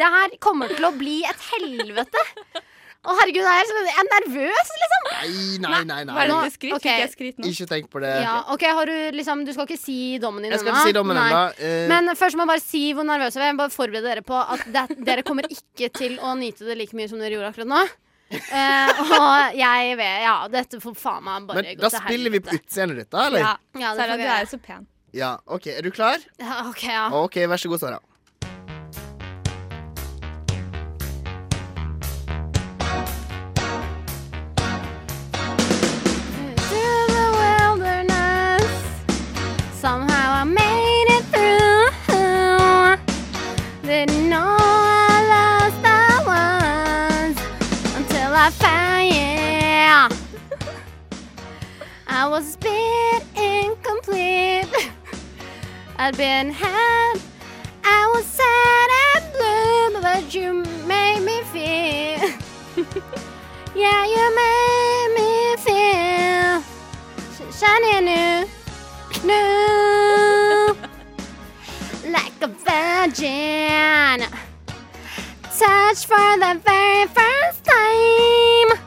Speaker 17: Det her kommer til å bli et helvete. Å, herregud, jeg er, så, jeg er nervøs, liksom.
Speaker 14: Nei, nei, nei. nei.
Speaker 17: Var det ikke skritt? Fikk jeg skritt
Speaker 14: Ikke tenk på det.
Speaker 17: Ja, ok, har du liksom Du skal ikke si dommen din
Speaker 14: Jeg skal ikke si dommen
Speaker 17: Nei.
Speaker 14: ennå, eh.
Speaker 17: Men først må jeg bare si hvor nervøs jeg var. Jeg må bare forberede dere på at det, dere kommer ikke til å nyte det like mye som dere gjorde akkurat nå. Eh, og jeg vet Ja, dette får faen meg bare
Speaker 14: Men
Speaker 17: gå
Speaker 14: da
Speaker 17: til
Speaker 14: spiller vi på utseendet ditt, da, eller?
Speaker 17: Ja, ja, det får
Speaker 15: Sara,
Speaker 17: vi
Speaker 15: du er
Speaker 17: gjøre.
Speaker 15: jo så pen.
Speaker 14: Ja, OK. Er du klar?
Speaker 17: Ja, OK, ja.
Speaker 14: OK, vær så god, Sara.
Speaker 17: through the wilderness. Somehow I made it through. Didn't know how lost I was until I found you. I was a bit incomplete. I'd been had. I was sad and blue, but you made me feel. Yeah, you made me feel sh- shiny new, new, like a virgin. Touch for the very first time,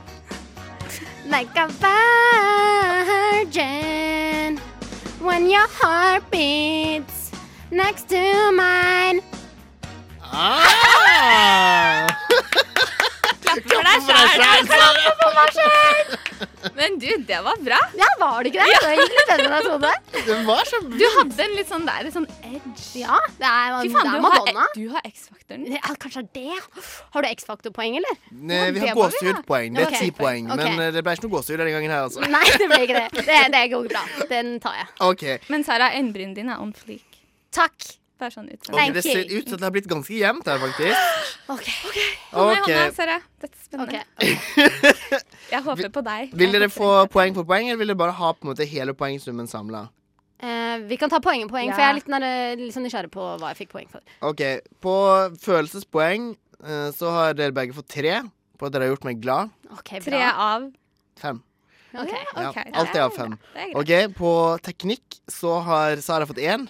Speaker 17: like a virgin. When your heart beats next to mine.
Speaker 15: Ah! Klapper deg sjæl!
Speaker 17: Klapper for meg sjæl!
Speaker 15: Men du, det var bra.
Speaker 17: Ja, var det ikke det? Det gikk litt bedre enn jeg trodde.
Speaker 14: Det var så
Speaker 15: Du hadde en litt sånn der en sånn edge.
Speaker 17: Ja, det er, det er
Speaker 15: Fy faen, du har, e-
Speaker 17: Madonna.
Speaker 15: du har X-faktoren.
Speaker 17: Ja, kanskje det. Har du X-faktor-poeng, eller?
Speaker 14: Nei, vi
Speaker 17: Det må vi
Speaker 14: har
Speaker 17: ha.
Speaker 14: gåsehudpoeng. Det er
Speaker 17: Ok.
Speaker 14: ti poeng.
Speaker 17: Ok.
Speaker 14: Men eh, det ble ikke noe gåsehud denne gangen her, altså.
Speaker 17: Nei, det ble ikke det. det. Det går bra. Den tar jeg.
Speaker 14: OK.
Speaker 15: Men Sara, øyenbrynene dine er on fleak.
Speaker 17: Takk.
Speaker 15: Bare sånn ut.
Speaker 14: Ok, det ser ut som det har blitt ganske jevnt her, faktisk.
Speaker 17: OK.
Speaker 15: Hånda i
Speaker 14: Ok.
Speaker 15: hånda, Sara. Dette er spennende. Jeg håper på deg.
Speaker 14: Vil dere få poeng for poeng, eller vil dere bare ha på en måte hele poengsummen samla?
Speaker 17: Eh, vi kan ta poeng i poeng,
Speaker 15: Ja.
Speaker 17: for jeg er litt, nær- litt sånn nysgjerrig på hva jeg fikk poeng for.
Speaker 14: OK. På følelsespoeng eh, så har dere begge fått tre på at dere har gjort meg glad.
Speaker 17: Ok, bra.
Speaker 15: Tre av
Speaker 14: Fem.
Speaker 17: Ok.
Speaker 14: Ja,
Speaker 15: Ok,
Speaker 14: alt jeg har fem.
Speaker 15: det er greit.
Speaker 14: OK, på teknikk så har Sara fått én.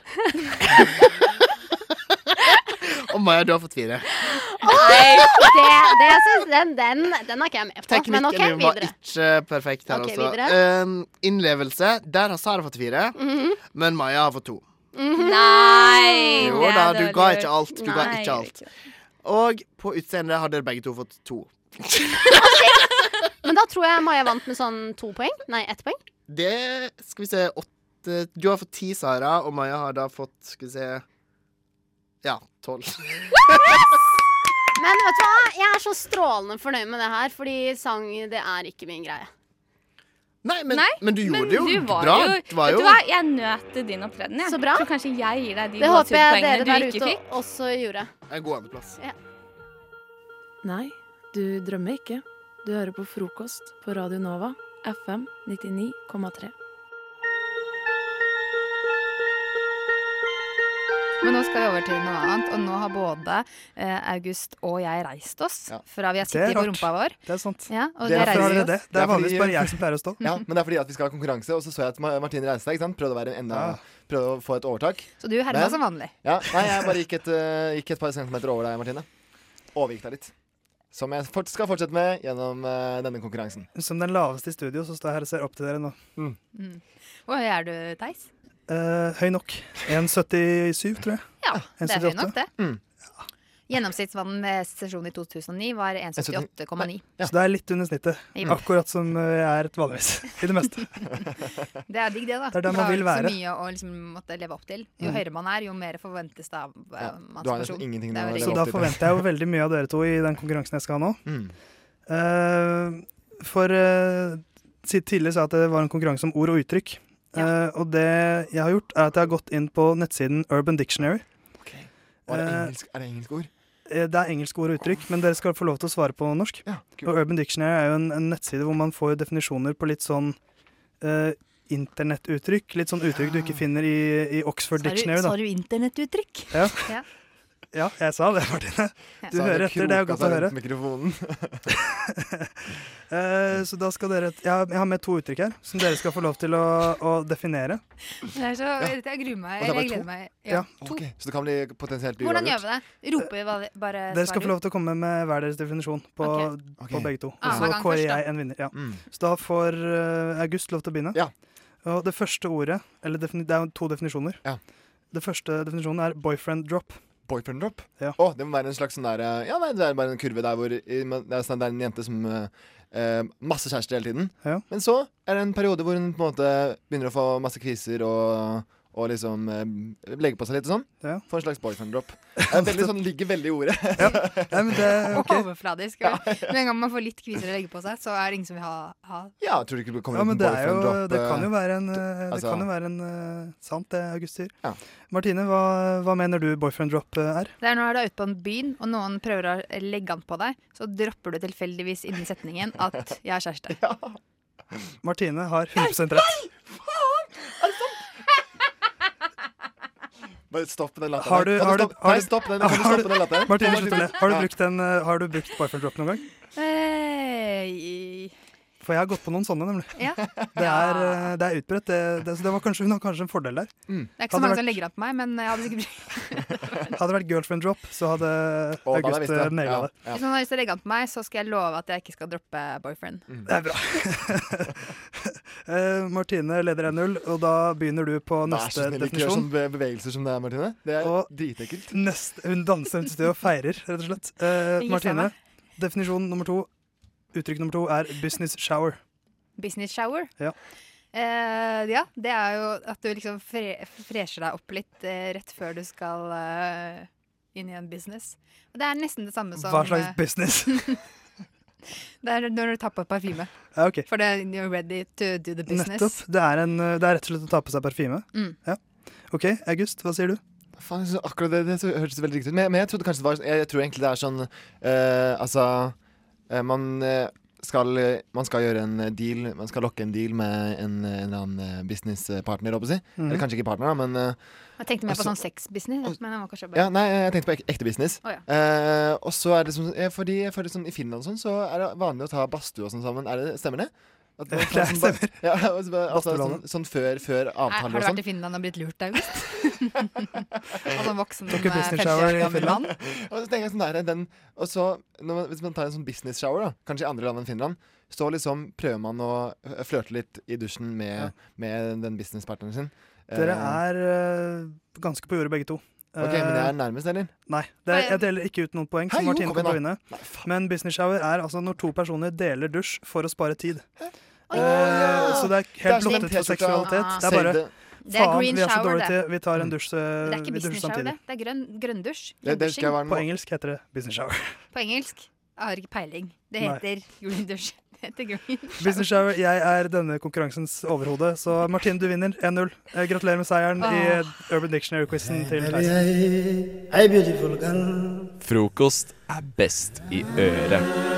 Speaker 14: Og Maja, du har fått fire.
Speaker 17: Nei, det, det synes, den, den, den er ikke jeg med på.
Speaker 14: Teknikken
Speaker 17: Men OK,
Speaker 14: din var
Speaker 17: videre.
Speaker 14: ikke perfekt her,
Speaker 17: Ok,
Speaker 14: altså.
Speaker 17: videre.
Speaker 14: Um, innlevelse, der har Sara fått fire,
Speaker 17: Mhm.
Speaker 14: men Maja har fått to.
Speaker 17: Mhm.
Speaker 15: Nei!
Speaker 14: Jo
Speaker 15: det er
Speaker 14: da, du
Speaker 15: dårlig
Speaker 14: ga ikke
Speaker 15: gjort.
Speaker 14: alt. Du ga
Speaker 15: Nei,
Speaker 14: ikke alt. Og på utseendet har dere begge to fått to.
Speaker 17: Men da tror jeg Maja vant med sånn to poeng. Nei, ett poeng.
Speaker 14: Det Skal vi se åtte Du har fått ti, Sara, og Maja har da fått Skal vi se Ja, tolv.
Speaker 17: Men vet du hva? Jeg er så strålende fornøyd med det her, fordi sang, det er ikke min greie.
Speaker 14: Nei, men,
Speaker 15: Nei,
Speaker 14: men du gjorde
Speaker 15: men
Speaker 14: det jo
Speaker 15: du var
Speaker 14: bra.
Speaker 15: Jo,
Speaker 14: det var
Speaker 15: vet
Speaker 14: jo
Speaker 15: du hva, jeg nøt din opptreden. Jeg.
Speaker 17: Så bra.
Speaker 15: Så kanskje jeg gir deg de
Speaker 17: Det håper jeg dere
Speaker 15: gåsehudpoengene
Speaker 17: der
Speaker 15: du ikke
Speaker 17: ute
Speaker 15: fikk.
Speaker 17: også gjorde.
Speaker 14: en god andreplass.
Speaker 17: Ja.
Speaker 13: Nei, du drømmer ikke. Du hører på frokost på Radio Nova, FM 99,3.
Speaker 18: Men nå skal vi over til noe annet, og nå har både eh, August og jeg reist oss. Fra vi har
Speaker 19: Det er
Speaker 18: sittet på
Speaker 19: rart.
Speaker 18: rumpa vår.
Speaker 19: Det er sant.
Speaker 18: Ja, og
Speaker 19: Det er
Speaker 18: det
Speaker 19: fordi-
Speaker 18: reiser vi
Speaker 19: det
Speaker 18: oss.
Speaker 19: er Det er vanligvis fordi- bare jeg som pleier å stå.
Speaker 20: Ja, men det er fordi at vi skal ha konkurranse, og så så jeg at Ma- Martine reiste seg. ikke sant? Prøvde å, være en enda, prøvde å få et overtak.
Speaker 18: Så du herma
Speaker 20: Men-
Speaker 18: som vanlig.
Speaker 20: Ja, Nei, jeg bare gikk et, eh, gikk et par centimeter over deg, Martine. Overgikk deg litt. Som jeg fort, skal fortsette med gjennom eh, denne konkurransen.
Speaker 19: Som den laveste i studio, så står jeg her og ser opp til dere nå.
Speaker 18: Mm. Hvor høy er du, Theis?
Speaker 19: Eh, høy nok. 1,77, tror jeg.
Speaker 18: Ja, det er høy
Speaker 19: 1,78.
Speaker 18: nok, det. Gjennomsnittsvann ved sesjonen i 2009 var 1,78,9.
Speaker 19: Så det er litt under snittet.
Speaker 18: Ja.
Speaker 19: Akkurat som eh, jeg er et vanligvis. I det meste.
Speaker 18: Det er digg, det, da.
Speaker 19: Det er der man
Speaker 18: For
Speaker 19: vil
Speaker 18: er
Speaker 19: være.
Speaker 18: Så mye å liksom måtte leve opp til. Jo
Speaker 19: Mm.
Speaker 18: høyere man er, jo mer forventes det av eh, man
Speaker 20: du har
Speaker 18: som
Speaker 20: nesten
Speaker 18: person.
Speaker 20: ingenting
Speaker 18: Det er
Speaker 20: å
Speaker 18: veldig
Speaker 19: Så
Speaker 18: gøy.
Speaker 19: da forventer jeg jo veldig mye av dere to i den konkurransen jeg skal ha nå.
Speaker 20: Mm.
Speaker 19: Eh, for eh, si- tidligere sa jeg at det var en konkurranse om ord og uttrykk. Eh, og det jeg har gjort, er at jeg har gått inn på nettsiden Urban Dictionary.
Speaker 20: Og er, det
Speaker 19: Eh,
Speaker 20: engelsk, er det engelske ord?
Speaker 19: Eh, Det er engelske ord og uttrykk, men dere skal få lov til å svare på norsk.
Speaker 20: kult.
Speaker 19: og Urban Dictionary er jo en, en nettside hvor man får definisjoner på litt sånn eh, internettuttrykk. Litt sånn uttrykk du ikke
Speaker 18: Ah.
Speaker 19: finner i, i Oxford Dictionary. da.
Speaker 18: internettuttrykk?
Speaker 19: Ja. ja, jeg sa det, Martine. Du
Speaker 20: Så er
Speaker 19: hører
Speaker 20: det
Speaker 19: etter, det er
Speaker 20: kroka
Speaker 19: godt å
Speaker 20: seg
Speaker 19: høre.
Speaker 20: rundt Mikrofonen.
Speaker 19: Eh, så da skal dere jeg har, jeg har med to uttrykk her, som dere skal få lov til å, å definere.
Speaker 18: Det er så, Jeg gruer meg. Eller jeg
Speaker 20: Og det er bare to?
Speaker 18: gleder meg. Ja. To.
Speaker 20: Ok, Så det kan bli potensielt
Speaker 18: Hvordan gjør vi det? Roper vi bare, bare
Speaker 19: Dere skal få lov til å komme med hver deres definisjon på, på begge to. Og
Speaker 18: Ah,
Speaker 19: så
Speaker 18: hver gang
Speaker 19: kårer
Speaker 18: først, da.
Speaker 19: jeg en vinner. Ja.
Speaker 20: Mm.
Speaker 19: Så da får eh, August lov til å begynne. Og det første ordet eller defini Det er jo to definisjoner. Det første definisjonen er boyfriend drop.
Speaker 20: Boyfriend drop?
Speaker 19: Ja.
Speaker 20: Å, det må være en slags sånn der eh, Ja, nei, det er bare en kurve der hvor i- men det er, sånn, det er en jente som eh, eh, Masse kjærester hele tiden. Men så er det en periode hvor hun på en måte begynner å få masse kriser og, og liksom eh, legge på seg litt og sånn.
Speaker 19: Ja.
Speaker 20: Får en slags boyfriend drop. Det er veldig sånn, ligger veldig i ordet.
Speaker 18: Overfladisk. Med en gang man får litt kriser å legge på seg, så er det ingen som vil ha, ha.
Speaker 20: Ja, tror du ikke det kommer
Speaker 19: Ja,
Speaker 20: ut
Speaker 19: men
Speaker 20: en
Speaker 19: det, er jo,
Speaker 20: boyfriend drop?
Speaker 19: det kan
Speaker 20: eh,
Speaker 19: jo være en, eh, det
Speaker 20: altså-
Speaker 19: kan jo være en eh, sant, det August sier. Martine, hva, hva mener du boyfriend drop eh, er?
Speaker 18: Det er når du er ute på en byen, og noen prøver å legge an på deg, så dropper du tilfeldigvis innen setningen at 'jeg er kjæreste'.
Speaker 19: Martine har 100 rett.
Speaker 20: Bare stopp den latteren.
Speaker 19: Har du,
Speaker 20: Kan
Speaker 19: har du,
Speaker 20: stoppe-
Speaker 19: har
Speaker 20: Nei,
Speaker 19: du,
Speaker 20: stopp den. Kan du
Speaker 19: har du-
Speaker 20: stoppe den latteren?
Speaker 19: Martine, slutt å le. Har du
Speaker 20: Ja.
Speaker 19: brukt, en, eh, har du brukt boyfriend drop noen gang?
Speaker 18: Eh,
Speaker 19: For jeg har gått på noen sånne, nemlig.
Speaker 18: ja.
Speaker 19: Det er, eh, det er utbredt. Det, det, så det var kanskje, hun har kanskje en fordel der.
Speaker 20: Mm.
Speaker 18: Det er ikke så mange som legger an på meg, men jeg hadde sikkert
Speaker 19: Hadde det vært girlfriend drop, så hadde
Speaker 20: da hadde jeg
Speaker 19: August
Speaker 20: visst det.
Speaker 19: eh, naila
Speaker 20: Ja,
Speaker 19: det.
Speaker 18: Hvis noen har lyst til å legge an på meg, så skal jeg love at jeg ikke skal droppe boyfriend.
Speaker 19: Det er bra. Eh, Martine leder 1-0, og da begynner du på
Speaker 20: Vær så
Speaker 19: neste
Speaker 20: snill, ikke gjør
Speaker 19: definisjon.
Speaker 20: sånne be- bevegelser som det er, Martine. Det er dritekkelt.
Speaker 19: Neste, hun danser rundt i stedet og feirer, rett og slett. Eh,
Speaker 18: Ingen
Speaker 19: Martine,
Speaker 18: stemmer.
Speaker 19: definisjon nummer to. Uttrykk nummer to er business shower.
Speaker 18: Business shower.
Speaker 19: Ja.
Speaker 18: Eh, ja, det er jo at du liksom fre fresher deg opp litt eh, rett før du skal eh, inn i en business. Og det er nesten det samme som
Speaker 19: Hva slags
Speaker 18: eh,
Speaker 19: business?
Speaker 18: Det er når du tar på parfyme.
Speaker 19: Ja, ok.
Speaker 18: For det, you're ready to do the business.
Speaker 19: Nettopp. Det er, en, eh, det er rett og slett å ta på seg parfyme.
Speaker 18: Mm.
Speaker 19: Ja. OK, August, hva sier du?
Speaker 20: Faen, jeg synes akkurat det, det så- hørtes veldig riktig ut. Men, jeg- men jeg trodde kanskje det var Jeg, jeg tror egentlig det er sånn eh, Altså eh, man, eh, skal, eh, man skal gjøre en eh, deal Man skal lokke en deal med en, eh, en eller annen eh, businesspartner, holdt jeg på å si.
Speaker 18: Mhm.
Speaker 20: Eller kanskje ikke partner, da, men eh,
Speaker 18: Jeg tenkte mer på
Speaker 20: Altså-
Speaker 18: sånn sexbusiness. Men jeg må kanskje bare
Speaker 20: ja, Nei, jeg tenkte på ek ekte business.
Speaker 18: Å, ja.
Speaker 20: Eh, og så er det som eh, Fordi jeg føler sånn I Finland og sånn Så er det vanlig å ta badstue og sånn sammen. Er det, stemmer det? At man tar sånn ba- Ja, altså, bare- altså, sånn,
Speaker 19: Badstuelandet.
Speaker 20: sånn før, før
Speaker 18: Nei, Har
Speaker 20: avtaler
Speaker 18: du
Speaker 20: og
Speaker 18: vært
Speaker 20: sånn.
Speaker 18: i Finland og blitt lurt, August? Og sånn voksen
Speaker 20: Tok
Speaker 19: ikke business shower
Speaker 18: 50 år
Speaker 19: i
Speaker 18: gammel
Speaker 19: Finland?
Speaker 18: mann?
Speaker 20: Og så tenker jeg sånn der, den, og så, når man, Hvis man tar en sånn business shower, da, kanskje i andre land enn Finland, så liksom prøver man å øh, flørte litt i dusjen med, med den businesspartneren sin.
Speaker 19: Dere
Speaker 20: Eh,
Speaker 19: er eh, ganske på jordet, begge to.
Speaker 20: Ok, men jeg
Speaker 19: Eh,
Speaker 20: er nærmest, eller?
Speaker 19: Nei. Det er, jeg deler ikke ut noen poeng, så
Speaker 20: Hei, jo,
Speaker 19: Martine
Speaker 20: kom
Speaker 19: kan
Speaker 20: igjen
Speaker 19: gå
Speaker 20: da.
Speaker 19: inn. Men business shower er altså når to personer deler dusj for å spare tid. Eh,
Speaker 20: ja.
Speaker 19: Så det er
Speaker 20: Det er
Speaker 19: helt
Speaker 20: som den
Speaker 19: blottet for
Speaker 20: T-skjorta.
Speaker 19: seksualitet. Det er
Speaker 20: Save
Speaker 19: bare
Speaker 18: Ah.
Speaker 20: the- Mm.
Speaker 18: Det er
Speaker 19: Faen,
Speaker 18: green
Speaker 19: vi er så
Speaker 18: shower,
Speaker 19: dårlige
Speaker 18: det.
Speaker 19: til Vi tar en dusj, eh,
Speaker 18: Det er ikke
Speaker 19: vi dusjer
Speaker 18: business shower,
Speaker 19: samtidig.
Speaker 18: det. Det er grønn, grønndusj.
Speaker 19: På
Speaker 18: Grønndusjing.
Speaker 19: engelsk heter det business shower.
Speaker 18: På engelsk. Jeg har ikke peiling. Det
Speaker 19: Nei.
Speaker 18: heter julendusj. Det heter green
Speaker 19: Business shower, Jeg er denne konkurransens overhode, så Martine, du vinner 1-0. Eh, Gratulerer med seieren
Speaker 18: Ah.
Speaker 19: i Urban Dictionary-quizen til Theis.
Speaker 1: Hei, beautiful Frokost er best i øret.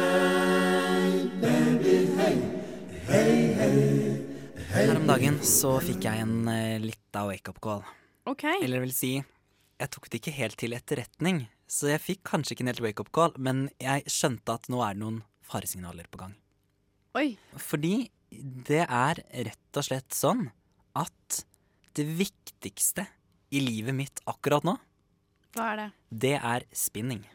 Speaker 21: Her om dagen så fikk jeg en eh, litt av wake-up call.
Speaker 10: Ok.
Speaker 21: Eller vil si, jeg tok det ikke helt til etterretning. Så jeg fikk kanskje ikke en helt wake-up call, men jeg skjønte at nå er det noen faresignaler på gang.
Speaker 10: Oi.
Speaker 21: Fordi det er rett og slett sånn at det viktigste i livet mitt akkurat nå,
Speaker 7: Hva er det?
Speaker 21: det er spinning.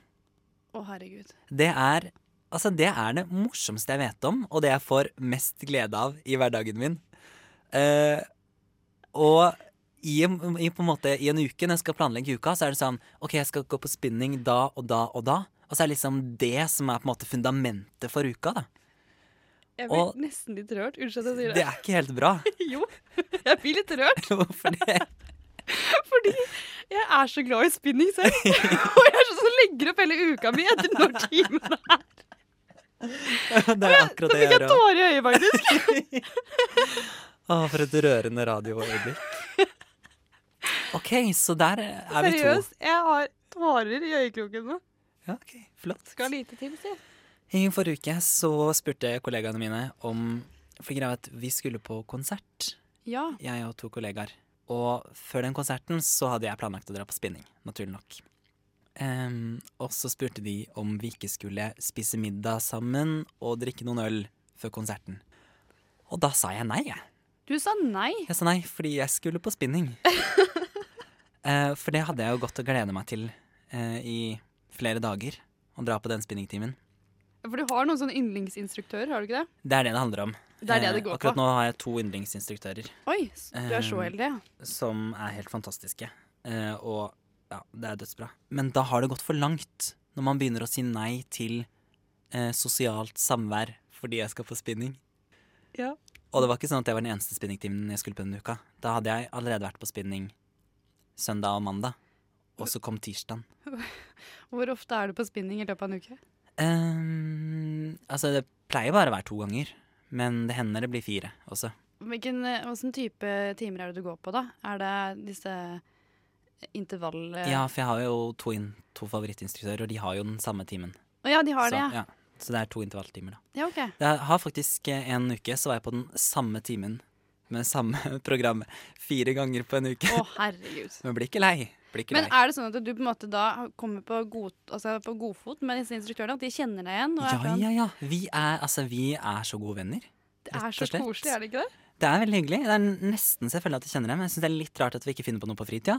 Speaker 7: Å, herregud.
Speaker 21: Det er, altså det er det morsomste jeg vet om, og det jeg får mest glede av i hverdagen min. Eh, og i, en- i, på en måte, i en uke, når jeg skal planlegge uka, så er det sånn OK, jeg skal gå på spinning da og da og da. Og så er det liksom det som er på en måte fundamentet for uka, da.
Speaker 10: Jeg
Speaker 21: blir Og-
Speaker 10: nesten litt rørt. Unnskyld at jeg
Speaker 21: Det er ikke helt bra.
Speaker 10: jo, jeg blir litt rørt.
Speaker 21: Hvorfor det?
Speaker 10: Fordi jeg er så glad i spinning selv. Og jeg er sånn som legger opp hele uka mi etter når timen er.
Speaker 21: Det er akkurat
Speaker 10: Nå
Speaker 21: det jeg
Speaker 10: fikk jeg
Speaker 21: gjør. også.
Speaker 10: tårer i øyet, faktisk.
Speaker 21: Å, for et rørende radioøyeblikk. OK, så der er vi to.
Speaker 10: Seriøst, jeg har tårer i øyekroken nå.
Speaker 21: Ja, ok, flott.
Speaker 10: Skal lite til, si.
Speaker 21: I forrige uke så spurte kollegaene mine om For greia er at vi skulle på konsert,
Speaker 7: Ja.
Speaker 21: jeg og to kollegaer. Og før den konserten så hadde jeg planlagt å dra på spinning, naturlig nok. Ehm, og så spurte de om vi ikke skulle spise middag sammen og drikke noen øl før konserten. Og da sa jeg nei, jeg.
Speaker 10: Du sa nei.
Speaker 21: Jeg sa nei fordi jeg skulle på spinning. Eh, for det hadde jeg jo gått og gleda meg til eh, i flere dager. Å dra på den spinningtimen.
Speaker 10: For du har noen sånne yndlingsinstruktører, har du ikke det?
Speaker 21: Det er det det handler om.
Speaker 10: Det er det det
Speaker 21: Eh,
Speaker 10: går på.
Speaker 21: Akkurat nå har jeg to yndlingsinstruktører.
Speaker 10: Oi, s- du er så
Speaker 21: eh,
Speaker 10: heldig, ja.
Speaker 21: Som er helt fantastiske. Eh, og ja, det er dødsbra. Men da har det gått for langt når man begynner å si nei til eh, sosialt samvær fordi jeg skal på spinning.
Speaker 10: Ja.
Speaker 21: Og det var ikke sånn at det var den eneste spinningtimen jeg skulle på denne uka. Da hadde jeg allerede vært på spinning søndag og mandag, og så kom tirsdagen.
Speaker 10: Hvor ofte er du på spinning i løpet av en uke?
Speaker 21: Ehm, altså, det pleier bare å være to ganger, men det hender det blir fire også.
Speaker 10: Hvilken, eh, Hvilken type timer er det du går på, da? Er det disse eh, intervall...
Speaker 21: Ja, for jeg har jo to, inn- to favorittinstruktører, og de har jo den samme timen.
Speaker 10: Å ja, de har
Speaker 21: så,
Speaker 10: det, ja.
Speaker 21: ja. Så det er to intervalltimer, da.
Speaker 10: Ja, ok.
Speaker 21: Jeg har faktisk eh, en uke, så var jeg på den samme timen med samme program fire ganger på en uke.
Speaker 10: Å, herregud.
Speaker 21: Men blir ikke lei. Blir ikke
Speaker 10: Men
Speaker 21: lei.
Speaker 10: er det sånn at du på en måte da kommer på, god, altså på godfot med disse instruktørene? At de kjenner deg igjen? Og er
Speaker 21: Ja,
Speaker 10: sånn,
Speaker 21: ja, ja. Vi er, altså, vi er så gode venner.
Speaker 10: Det er
Speaker 21: rett
Speaker 10: så
Speaker 21: og slett.
Speaker 10: koselig, er det ikke det?
Speaker 21: Det er veldig hyggelig. Det er nesten så jeg føler at jeg kjenner dem. Jeg synes det er litt rart at vi ikke finner på noe på fritida.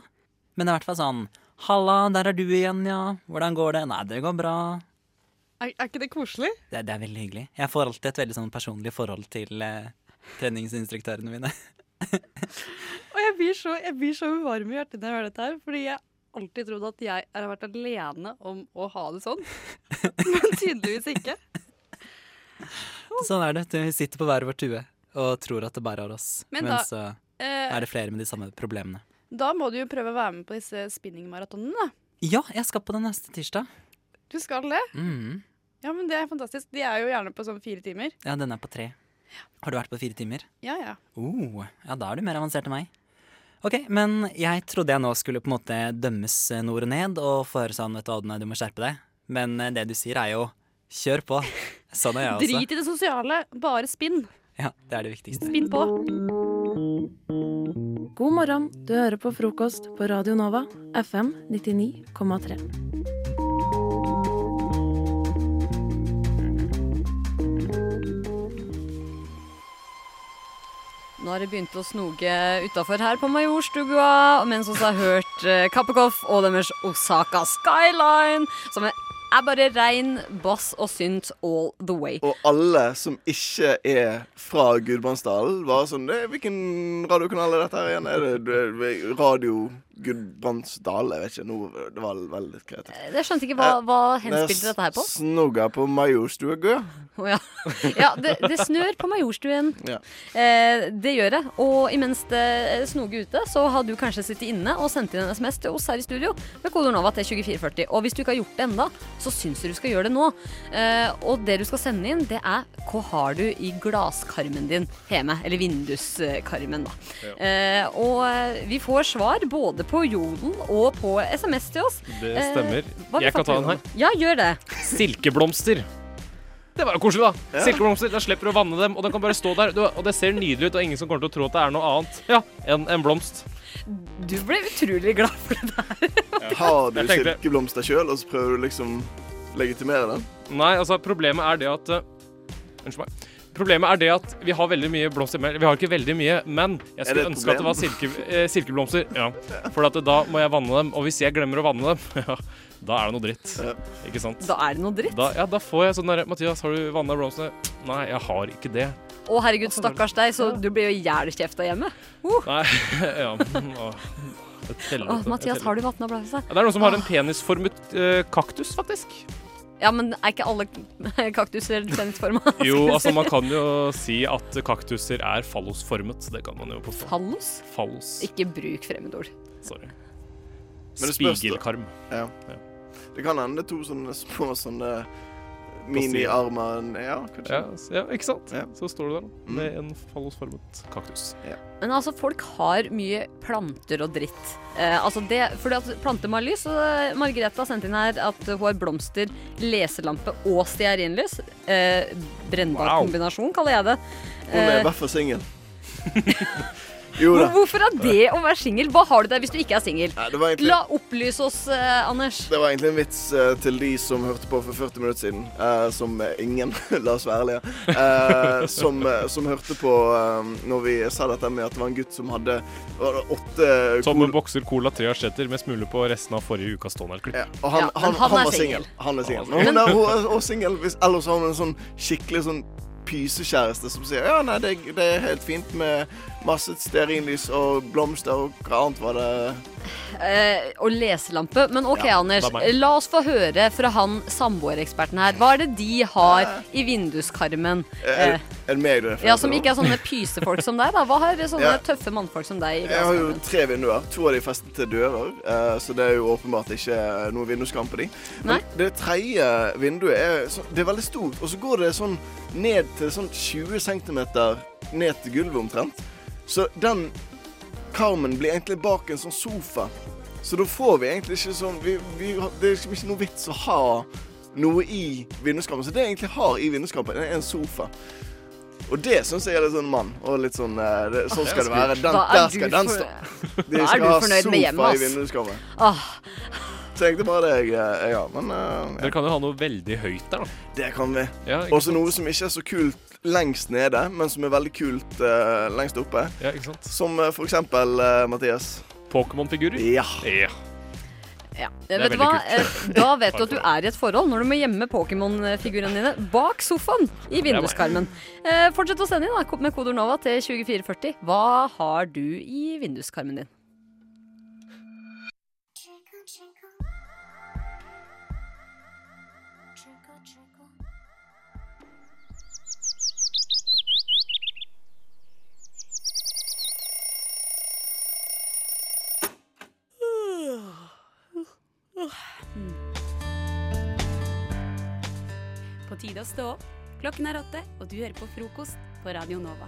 Speaker 21: Men det er i hvert fall sånn Halla, der er du igjen, ja. Hvordan går det? Nei, det går bra.
Speaker 10: Er, er ikke det koselig?
Speaker 21: Det, det er veldig hyggelig. Jeg får alltid et veldig sånn personlig forhold til eh, treningsinstruktørene mine.
Speaker 10: Og jeg blir, så, jeg blir så varm i hjertet når jeg hører dette her, fordi jeg har alltid trodd at jeg har vært alene om å ha det sånn. Men tydeligvis ikke.
Speaker 21: Sånn er det. vet du. Vi sitter på hver vår tue og tror at det bare er oss.
Speaker 10: Men
Speaker 21: Men,
Speaker 10: da,
Speaker 21: så
Speaker 10: eh,
Speaker 21: er det flere med de samme problemene.
Speaker 10: Da må du jo prøve å være med på disse spinningmaratonene, da.
Speaker 21: Ja, jeg skal på den neste tirsdag.
Speaker 10: Du skal det?
Speaker 21: Mm.
Speaker 10: Ja, men det er fantastisk. De er jo gjerne på sånn fire timer.
Speaker 21: Ja, den er på tre. Har du vært på fire timer?
Speaker 10: Ja, ja.
Speaker 21: Oh, ja, da er du mer avansert enn meg. Ok, men jeg trodde jeg nå skulle på en måte dømmes eh, nord og ned og få høre sånn, vet du hva, Odne, du må skjerpe deg. Men eh, det du sier er jo, kjør på. Sånn er jeg også.
Speaker 10: Drit i det sosiale, bare spinn.
Speaker 21: Ja, det er det viktigste.
Speaker 10: Spinn på.
Speaker 13: God morgen, du hører på frokost på Radio Nova, FM 99,3.
Speaker 3: Nå har det begynt å snoke utafor her på Majorstua, mens vi har hørt eh, Kappekoff og deres Osaka Skyline, som er er bare rein bass og synt all the way.
Speaker 4: Og alle som ikke er fra Gudbrandsdalen, var sånn «Eh, Hvilken radiokanal er dette her igjen? Er det, det- Radio Gudbrandsdal? Jeg vet ikke. Nå, det var veldig kreativt. Eh,
Speaker 3: Jeg Eh, skjønte ikke hva, hva henspilte
Speaker 4: Det er
Speaker 3: dette her på.
Speaker 4: Snogga på Majorstua Gø.
Speaker 3: Å ja, ja det, det snør på Majorstuen.
Speaker 4: Ja.
Speaker 3: Eh, det gjør det. Og imens det snoger ute, så har du kanskje sittet inne og sendt inn en SMS til oss her i studio med kodeord NOVA til 2440. Og hvis du ikke har gjort det enda, så syns du du skal gjøre det nå. Eh, og det du skal sende inn, det er hva har du i glasskarmen din hjemme? Eller vinduskarmen, da. Eh, og eh, vi får svar både på Jodel og på SMS til oss.
Speaker 2: Det
Speaker 3: Eh,
Speaker 2: stemmer.
Speaker 3: hva vi
Speaker 2: Jeg kan
Speaker 3: fant ut
Speaker 2: ta den her.
Speaker 3: om. Ja, gjør det.
Speaker 2: Silkeblomster. Det var jo koselig, da.
Speaker 3: Ja.
Speaker 2: Silkeblomster, Da slipper du å vanne dem, og den kan bare stå der. Du- Og det ser nydelig ut, og ingen som kommer til å tro at det er noe annet ja, enn en blomst.
Speaker 3: Du ble utrolig glad for
Speaker 4: Har du
Speaker 2: Jeg tenkte-
Speaker 4: silkeblomster sjøl, og så prøver du liksom legitimere den?
Speaker 2: Nei, altså, problemet er det at eh, Unnskyld meg. Problemet er det at vi har veldig mye blomster men Vi har ikke veldig mye, men jeg
Speaker 4: Er
Speaker 2: skulle
Speaker 4: det et
Speaker 2: ønske at det var silke,
Speaker 4: problem?
Speaker 2: eh, silkeblomster. Ja. For at da må jeg vanne dem, og hvis jeg glemmer å vanne dem, ja, da er det noe dritt. Ikke sant?
Speaker 3: Da er det noe dritt.
Speaker 2: Da, ja, da får jeg sånn derre Mathias, har du vanna blomstene? Nei, jeg har ikke det.
Speaker 3: Å herregud, stakkars deg, så du blir jo jævlig hjemme. Uh.
Speaker 2: Nei, ja å, et helvete,
Speaker 3: Å, Mathias,
Speaker 2: et
Speaker 3: har du
Speaker 2: helvete.
Speaker 3: vatna blæsa?
Speaker 2: Ja, Det er noen som har en penisformet eh, kaktus, faktisk.
Speaker 3: Ja, men er ikke alle kaktuser tennisforma?
Speaker 2: Jo, altså man kan jo si at kaktuser er fallosformet. Det kan man jo påstå.
Speaker 3: Fallos?
Speaker 2: Fallos.
Speaker 3: Ikke bruk fremmedord.
Speaker 2: Sorry.
Speaker 4: Men det spørs da.
Speaker 2: Spigelkarm.
Speaker 4: Ja. Det kan hende det er to sånne små sånne
Speaker 2: Fossil.
Speaker 4: miniarmer Ja, kanskje.
Speaker 2: Ja, s- ja, ikke sant? Så står du der
Speaker 4: Mm.
Speaker 2: da, med en fallosformet kaktus.
Speaker 3: Men altså, folk har mye planter og dritt. Eh, altså det, fordi at planter må ha lys, og eh, Margrethe har sendt inn her at hun har blomster, leselampe og stearinlys. Eh, brennbar
Speaker 4: Wow.
Speaker 3: kombinasjon, kaller jeg det.
Speaker 4: Hun er i
Speaker 3: Eh,
Speaker 4: hvert fall singel. Jo da.
Speaker 3: Hvor- Hvorfor er det å være singel? Hva har du der hvis du ikke er singel?
Speaker 4: det var egentlig-
Speaker 3: La opplyse oss, eh, Anders.
Speaker 4: Det var egentlig en vits eh, til de som hørte på for 40 minutter siden, eh, som eh, ingen, la oss være ærlige, eh, som, eh, som hørte på eh, når vi sa dette med at det var en gutt som hadde var det åtte
Speaker 2: Tomme bokser Cola 3 asjetter med smule på resten av forrige ukas Donald-klipp.
Speaker 4: Og han, han, han, var singel. Han er singel. Men hun er hun er også singel. hvis- Ellers har hun en sånn skikkelig sånn pysekjæreste som sier ja, nei, det, det er helt fint med masse stearinlys og blomster og hva annet var det
Speaker 3: Eh, og leselampe. Men OK,
Speaker 4: Ja,
Speaker 3: Anders.
Speaker 4: det er meg.
Speaker 3: La oss få høre fra han samboereksperten her. Hva er det de har i vinduskarmen?
Speaker 4: Er,
Speaker 3: Eh,
Speaker 4: er det meg du refererer
Speaker 3: ja, Som
Speaker 4: til nå?
Speaker 3: ikke er sånn sånne pysefolk som deg, da. Hva har sånne
Speaker 4: Ja.
Speaker 3: tøffe mannfolk som deg? i
Speaker 4: Jeg har jo
Speaker 3: vinduskarmen?
Speaker 4: tre vinduer. To av de er festet til dører, eh, så det er jo åpenbart ikke eh, noe vinduskamp på de. Men det tredje vinduet er, så, det er veldig stort, og så går det sånn ned til sånn 20 cm ned til gulvet omtrent. Så den karmen blir egentlig bak en sånn sofa. Så da får vi egentlig ikke sånn vi, vi, har- Det er liksom ikke noe vits å ha noe i vinduskampen. Så det jeg egentlig har i vinduskampen, er en sofa. Og det syns jeg er litt sånn mann. Og litt sånn eh, det, Sånn skal det være. Den,
Speaker 3: Da Ah, er
Speaker 4: der
Speaker 3: du
Speaker 4: skal den
Speaker 3: for-
Speaker 4: stå.
Speaker 3: Da er
Speaker 4: skal
Speaker 3: du
Speaker 4: ha
Speaker 3: fornøyd med hjemmet,
Speaker 4: sofa i
Speaker 3: ass.
Speaker 4: vinduskampen.
Speaker 3: Ah,
Speaker 4: Så egentlig bare det jeg, jeg har. Men eh,
Speaker 2: Dere kan jo ha noe veldig høyt der, da.
Speaker 4: det kan vi.
Speaker 2: Ja, ikke
Speaker 4: Og så noe som ikke er så kult lengst nede, men som er veldig kult eh, lengst oppe.
Speaker 2: Ja, ikke sant?
Speaker 4: Som eh, for eksempel, eh, Mathias
Speaker 2: Pokémon-figurer?
Speaker 4: Ja.
Speaker 3: ja.
Speaker 4: Det er
Speaker 3: Vet du
Speaker 4: veldig
Speaker 3: hva?
Speaker 4: kult.
Speaker 3: Eh, Da vet du at du er i et forhold når du må gjemme Pokémon-figurene dine bak sofaen i vinduskarmen. Eh, fortsett å sende inn da, ko- med kodeord NOVA til 2440. Hva har du i vinduskarmen din?
Speaker 12: hmm. På tide å stå opp. Klokken er åtte, og du hører på frokost på Radio Nova.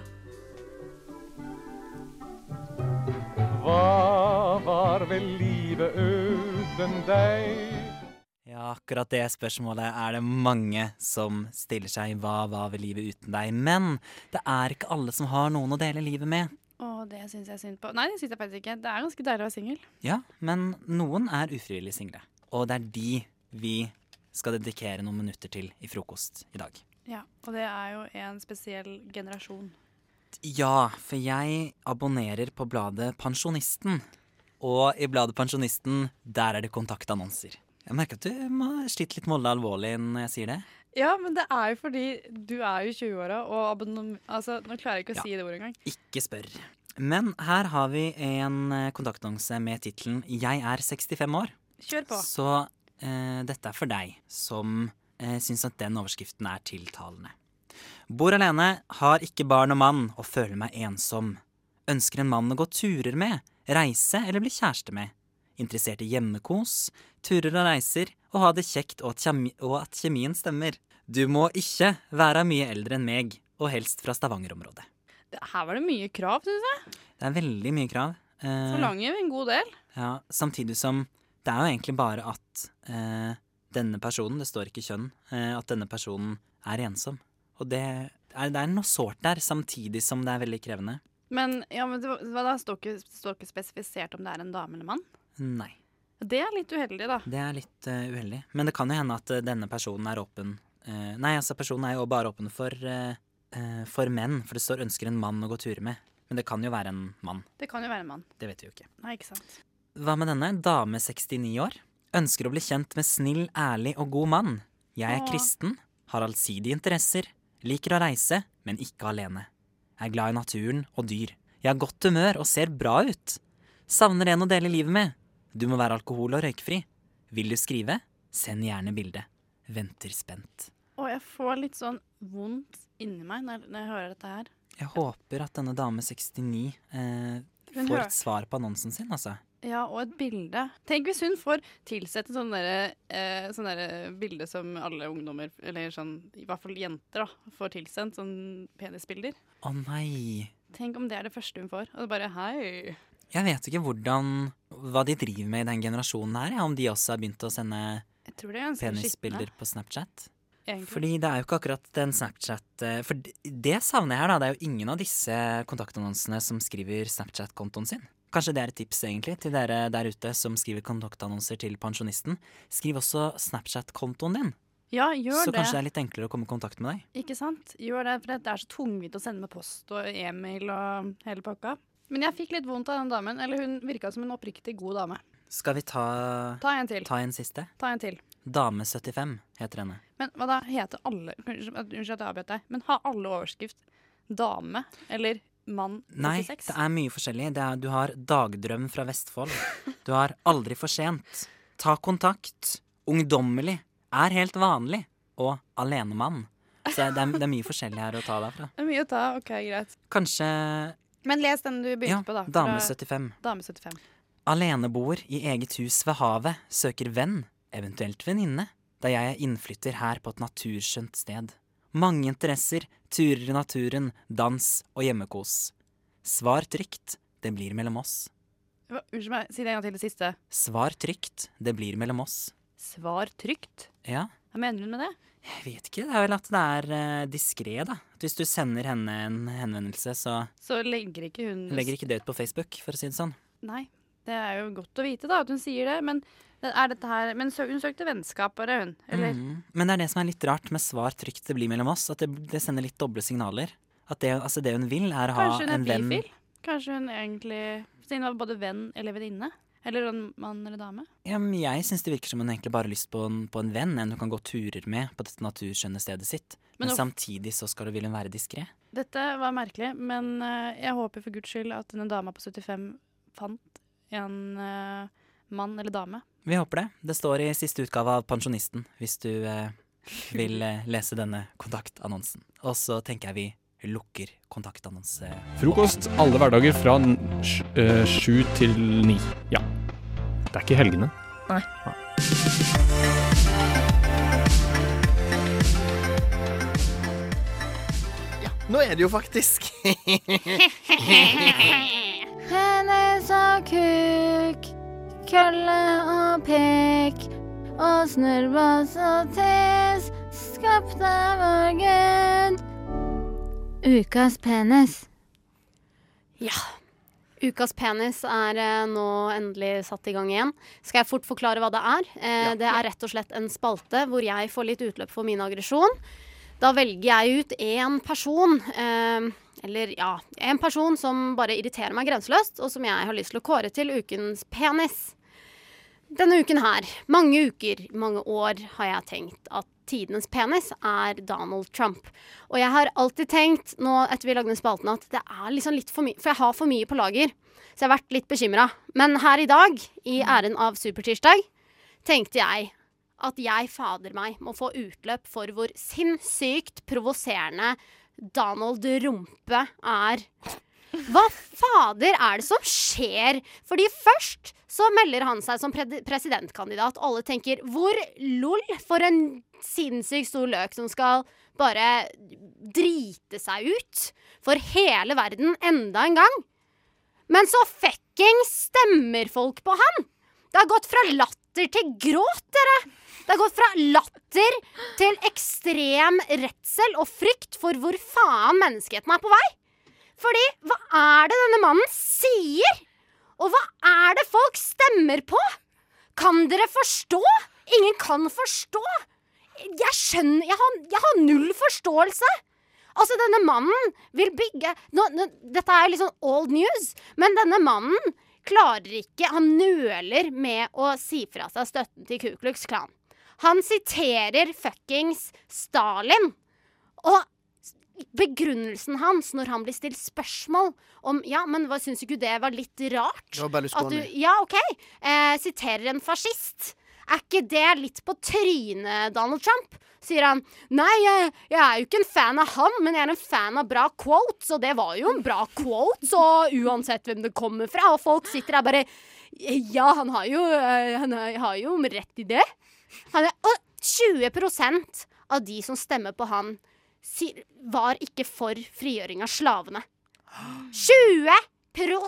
Speaker 5: Hva var vel livet uten deg?
Speaker 21: Ja, akkurat det spørsmålet er det mange som stiller seg. Hva var vel livet uten deg? Men det er ikke alle som har noen å dele livet med.
Speaker 10: Å, det syns jeg synd på. Nei, det syns jeg faktisk ikke. Det er ganske deilig å være singel.
Speaker 21: Ja, men noen er ufrivillig single. Og det er de vi skal dedikere noen minutter til i frokost i dag.
Speaker 10: Ja, og det er jo en spesiell generasjon.
Speaker 21: Ja, for jeg abonnerer på bladet Pensjonisten. Og i bladet Pensjonisten, der er det kontaktannonser. Jeg merker at du må slite litt med å holde det alvorlig når jeg sier det.
Speaker 10: Ja, men det er jo fordi du er jo 20-åra, og abonnom... Altså, nå klarer jeg ikke å
Speaker 21: Ja.
Speaker 10: si det ordet engang.
Speaker 21: Ikke spør. Men her har vi en eh, kontaktannonse med tittelen 'Jeg er 65 år'.
Speaker 10: Kjør på.
Speaker 21: Så eh, dette er for deg som eh, syns at den overskriften er tiltalende. Bor alene, har ikke barn og mann og føler meg ensom. Ønsker en mann å gå turer med, reise eller bli kjæreste med. Interessert i hjemmekos, turer og reiser, og ha det kjekt og at, kjemi og at kjemien stemmer. Du må ikke være mye eldre enn meg, og helst fra Stavanger-området.
Speaker 10: Det- Her var det mye krav, syns jeg.
Speaker 21: Det er veldig mye krav. Eh,
Speaker 10: Forlanger en god del.
Speaker 21: ja, samtidig som det er jo egentlig bare at eh, denne personen, det står ikke kjønn, eh, at denne personen er ensom. Og det er, det er noe sårt der, samtidig som det er veldig krevende.
Speaker 10: Men, ja, men det, var- det var- det står ikke, det står ikke spesifisert om det er en dame eller mann.
Speaker 21: Nei,
Speaker 10: Det er litt uheldig, da.
Speaker 21: det er litt eh, uheldig. Men det kan jo hende at eh, denne personen er åpen eh, Nei, altså personen er jo bare åpen for, eh, eh, for menn, for det står 'ønsker en mann å gå turer med'. Men det kan jo være en mann.
Speaker 10: Det kan jo være en mann.
Speaker 21: Det vet vi jo ikke.
Speaker 10: Nei, ikke sant.
Speaker 21: Hva med denne? Dame 69 år. Ønsker å bli kjent med snill, ærlig og god mann. Jeg er
Speaker 10: Åh.
Speaker 21: kristen, har allsidige interesser, liker å reise, men ikke alene. Er glad i naturen og dyr. Jeg har godt humør og ser bra ut. Savner en å dele livet med. Du må være alkohol- og røykfri. Vil du skrive? Send gjerne bilde. Venter spent.
Speaker 10: Og jeg får litt sånn vondt inni meg når, når jeg hører dette her.
Speaker 21: Jeg håper at denne dame 69 eh,
Speaker 10: Hun
Speaker 21: får
Speaker 10: hørte-
Speaker 21: et svar på annonsen sin, altså.
Speaker 10: Ja, og et bilde. Tenk hvis hun får tilsett en sånn derre eh, sånn derre bilde som alle ungdommer, eller sånn, i hvert fall jenter, da, får tilsendt. Sånn penisbilder.
Speaker 21: Å nei.
Speaker 10: Tenk om det er det første hun får. Og det bare hei.
Speaker 21: Jeg vet ikke hvordan, hva de driver med i den generasjonen her. Ja. Om de også har begynt å sende
Speaker 10: Jeg tror det er ganske skitne.
Speaker 21: penisbilder på Snapchat.
Speaker 10: egentlig.
Speaker 21: Fordi det er jo ikke akkurat den Snapchat eh, For d- det savner jeg her, da. Det er jo ingen av disse kontaktannonsene som skriver Snapchat-kontoen sin. Kanskje det er et tips egentlig til dere der ute som skriver kontaktannonser til pensjonisten. Skriv også Snapchat-kontoen din,
Speaker 10: Ja, gjør
Speaker 21: så
Speaker 10: det.
Speaker 21: kanskje det er litt enklere å komme i kontakt med deg.
Speaker 10: Ikke sant? Gjør det, for det er så tungvint å sende med post og e-mail og hele pakka. Men jeg fikk litt vondt av den damen. Eller hun virka som en oppriktig god dame.
Speaker 21: Skal vi ta
Speaker 10: Ta en til.
Speaker 21: Ta en siste?
Speaker 10: Ta en til.
Speaker 21: Dame75 heter henne.
Speaker 10: Men hva da? Heter alle Unnskyld unnskyld at jeg avbrøt deg, men har alle overskrift dame eller mann
Speaker 21: Nei,
Speaker 10: 46?
Speaker 21: det er mye forskjellig. Det er, du har Dagdrøm fra Vestfold. Du har Aldri for sent. Ta kontakt. Ungdommelig. Er helt vanlig. Og Alenemann. Så det er, det er mye forskjellig her å ta derfra.
Speaker 10: Det er mye å ta. OK, greit.
Speaker 21: Kanskje
Speaker 10: Men les den du begynte
Speaker 21: Ja,
Speaker 10: på, da. fra-
Speaker 21: Dame75.
Speaker 10: Dame 75.
Speaker 21: Aleneboer i eget hus ved havet søker venn, eventuelt venninne, da jeg er innflytter her på et naturskjønt sted. Mange interesser, turer i naturen, dans og hjemmekos. Svar trygt, det blir mellom oss.
Speaker 10: Hva- Unnskyld meg, si det en gang til det siste.
Speaker 21: Svar trygt, det blir mellom oss.
Speaker 10: Svar trygt.
Speaker 21: Ja,
Speaker 10: Hva mener hun med det?
Speaker 21: jeg vet ikke, det er vel at det er eh, diskré, da. At hvis du sender henne en henvendelse, så
Speaker 10: Så legger ikke hun
Speaker 21: legger ikke det ut på Facebook, for å si det sånn.
Speaker 10: Nei, det er jo godt å vite da at hun sier det, men det er dette her Men sø, hun søkte vennskap, bare hun. Eller
Speaker 21: Mhm. Men det er det som er litt rart med svar trygt det blir mellom oss, at det, det sender litt doble signaler. At det, altså det hun vil, er å ha
Speaker 10: kanskje hun
Speaker 21: en
Speaker 10: er
Speaker 21: venn
Speaker 10: bifil? Kanskje hun egentlig Siden hun var både venn eller venninne? Eller en mann eller dame?
Speaker 21: ja, men Jeg syns det virker som hun egentlig bare har lyst på en, på en venn, en hun kan gå turer med på dette naturskjønne stedet sitt.
Speaker 10: Men
Speaker 21: Men,
Speaker 10: nå-
Speaker 21: samtidig så skal hun ville være diskré.
Speaker 10: Dette var merkelig, men eh, jeg håper for guds skyld at denne dama på 75 fant en eh, mann eller dame.
Speaker 21: Vi håper det. Det står i siste utgave av Pensjonisten, hvis du eh, vil eh, lese denne kontaktannonsen. Og så tenker jeg vi lukker kontaktannonse...
Speaker 8: Frokost alle hverdager fra n- sj- eh, sju til ni. Ja. Det er ikke helgene.
Speaker 13: Nei.
Speaker 14: Nå er det jo faktisk
Speaker 16: Penis og kuk, kølle og pek, og snurrbås og tes, skapt av vår Gud. Ukas penis.
Speaker 17: Ja. Ukas penis er eh, nå endelig satt i gang igjen. Skal jeg fort forklare hva det er? Eh, Det er rett og slett en spalte hvor jeg får litt utløp for min aggresjon. Da velger jeg ut én person, eh, eller ja, en person som bare irriterer meg grenseløst, og som jeg har lyst til å kåre til ukens penis. Denne uken her, mange uker, mange år, har jeg tenkt at tidenes penis er Donald Trump. Og jeg har alltid tenkt, nå etter vi lagde den spalten, at det er liksom litt for mye, for jeg har for mye på lager. Så jeg har vært litt bekymra. Men her i dag, i æren av Supertirsdag, tenkte jeg at jeg fader meg må få utløp for hvor sinnssykt provoserende Donald Rumpe er. Hva fader er det som skjer? Fordi først så melder han seg som pred- presidentkandidat. Alle tenker 'hvor lol', for en sinnssykt stor løk som skal bare drite seg ut for hele verden enda en gang. Men så fucking stemmer folk på han! Det har gått fra latter til gråt, dere! Det har gått fra latter til ekstrem redsel og frykt for hvor faen menneskeheten er på vei. Fordi hva er det denne mannen sier? Og hva er det folk stemmer på? Kan dere forstå? Ingen kan forstå. Jeg skjønner Jeg har, jeg har null forståelse. Altså, denne mannen vil bygge nå, nå, Dette er jo litt sånn old news, men denne mannen klarer ikke Han nøler med å si fra seg støtten til Ku Klux Klan. Han siterer fuckings Stalin. Og begrunnelsen hans når han blir stilt spørsmål om Ja, men hva syns ikke du det var litt rart?
Speaker 14: Det var Berlusconi.
Speaker 17: At du, ja, OK. Eh, siterer en fascist. Er ikke det litt på trynet, Donald Trump? Sier han. Nei, jeg, jeg er jo ikke en fan av han, men jeg er en fan av bra quotes, og det var jo en bra quote, så uansett hvem det kommer fra, og folk sitter der bare Ja, han har jo, eh, han har- har jo rett i det. Han er, og 20 av de som stemmer på han, sier- var ikke for frigjøring av slavene. 20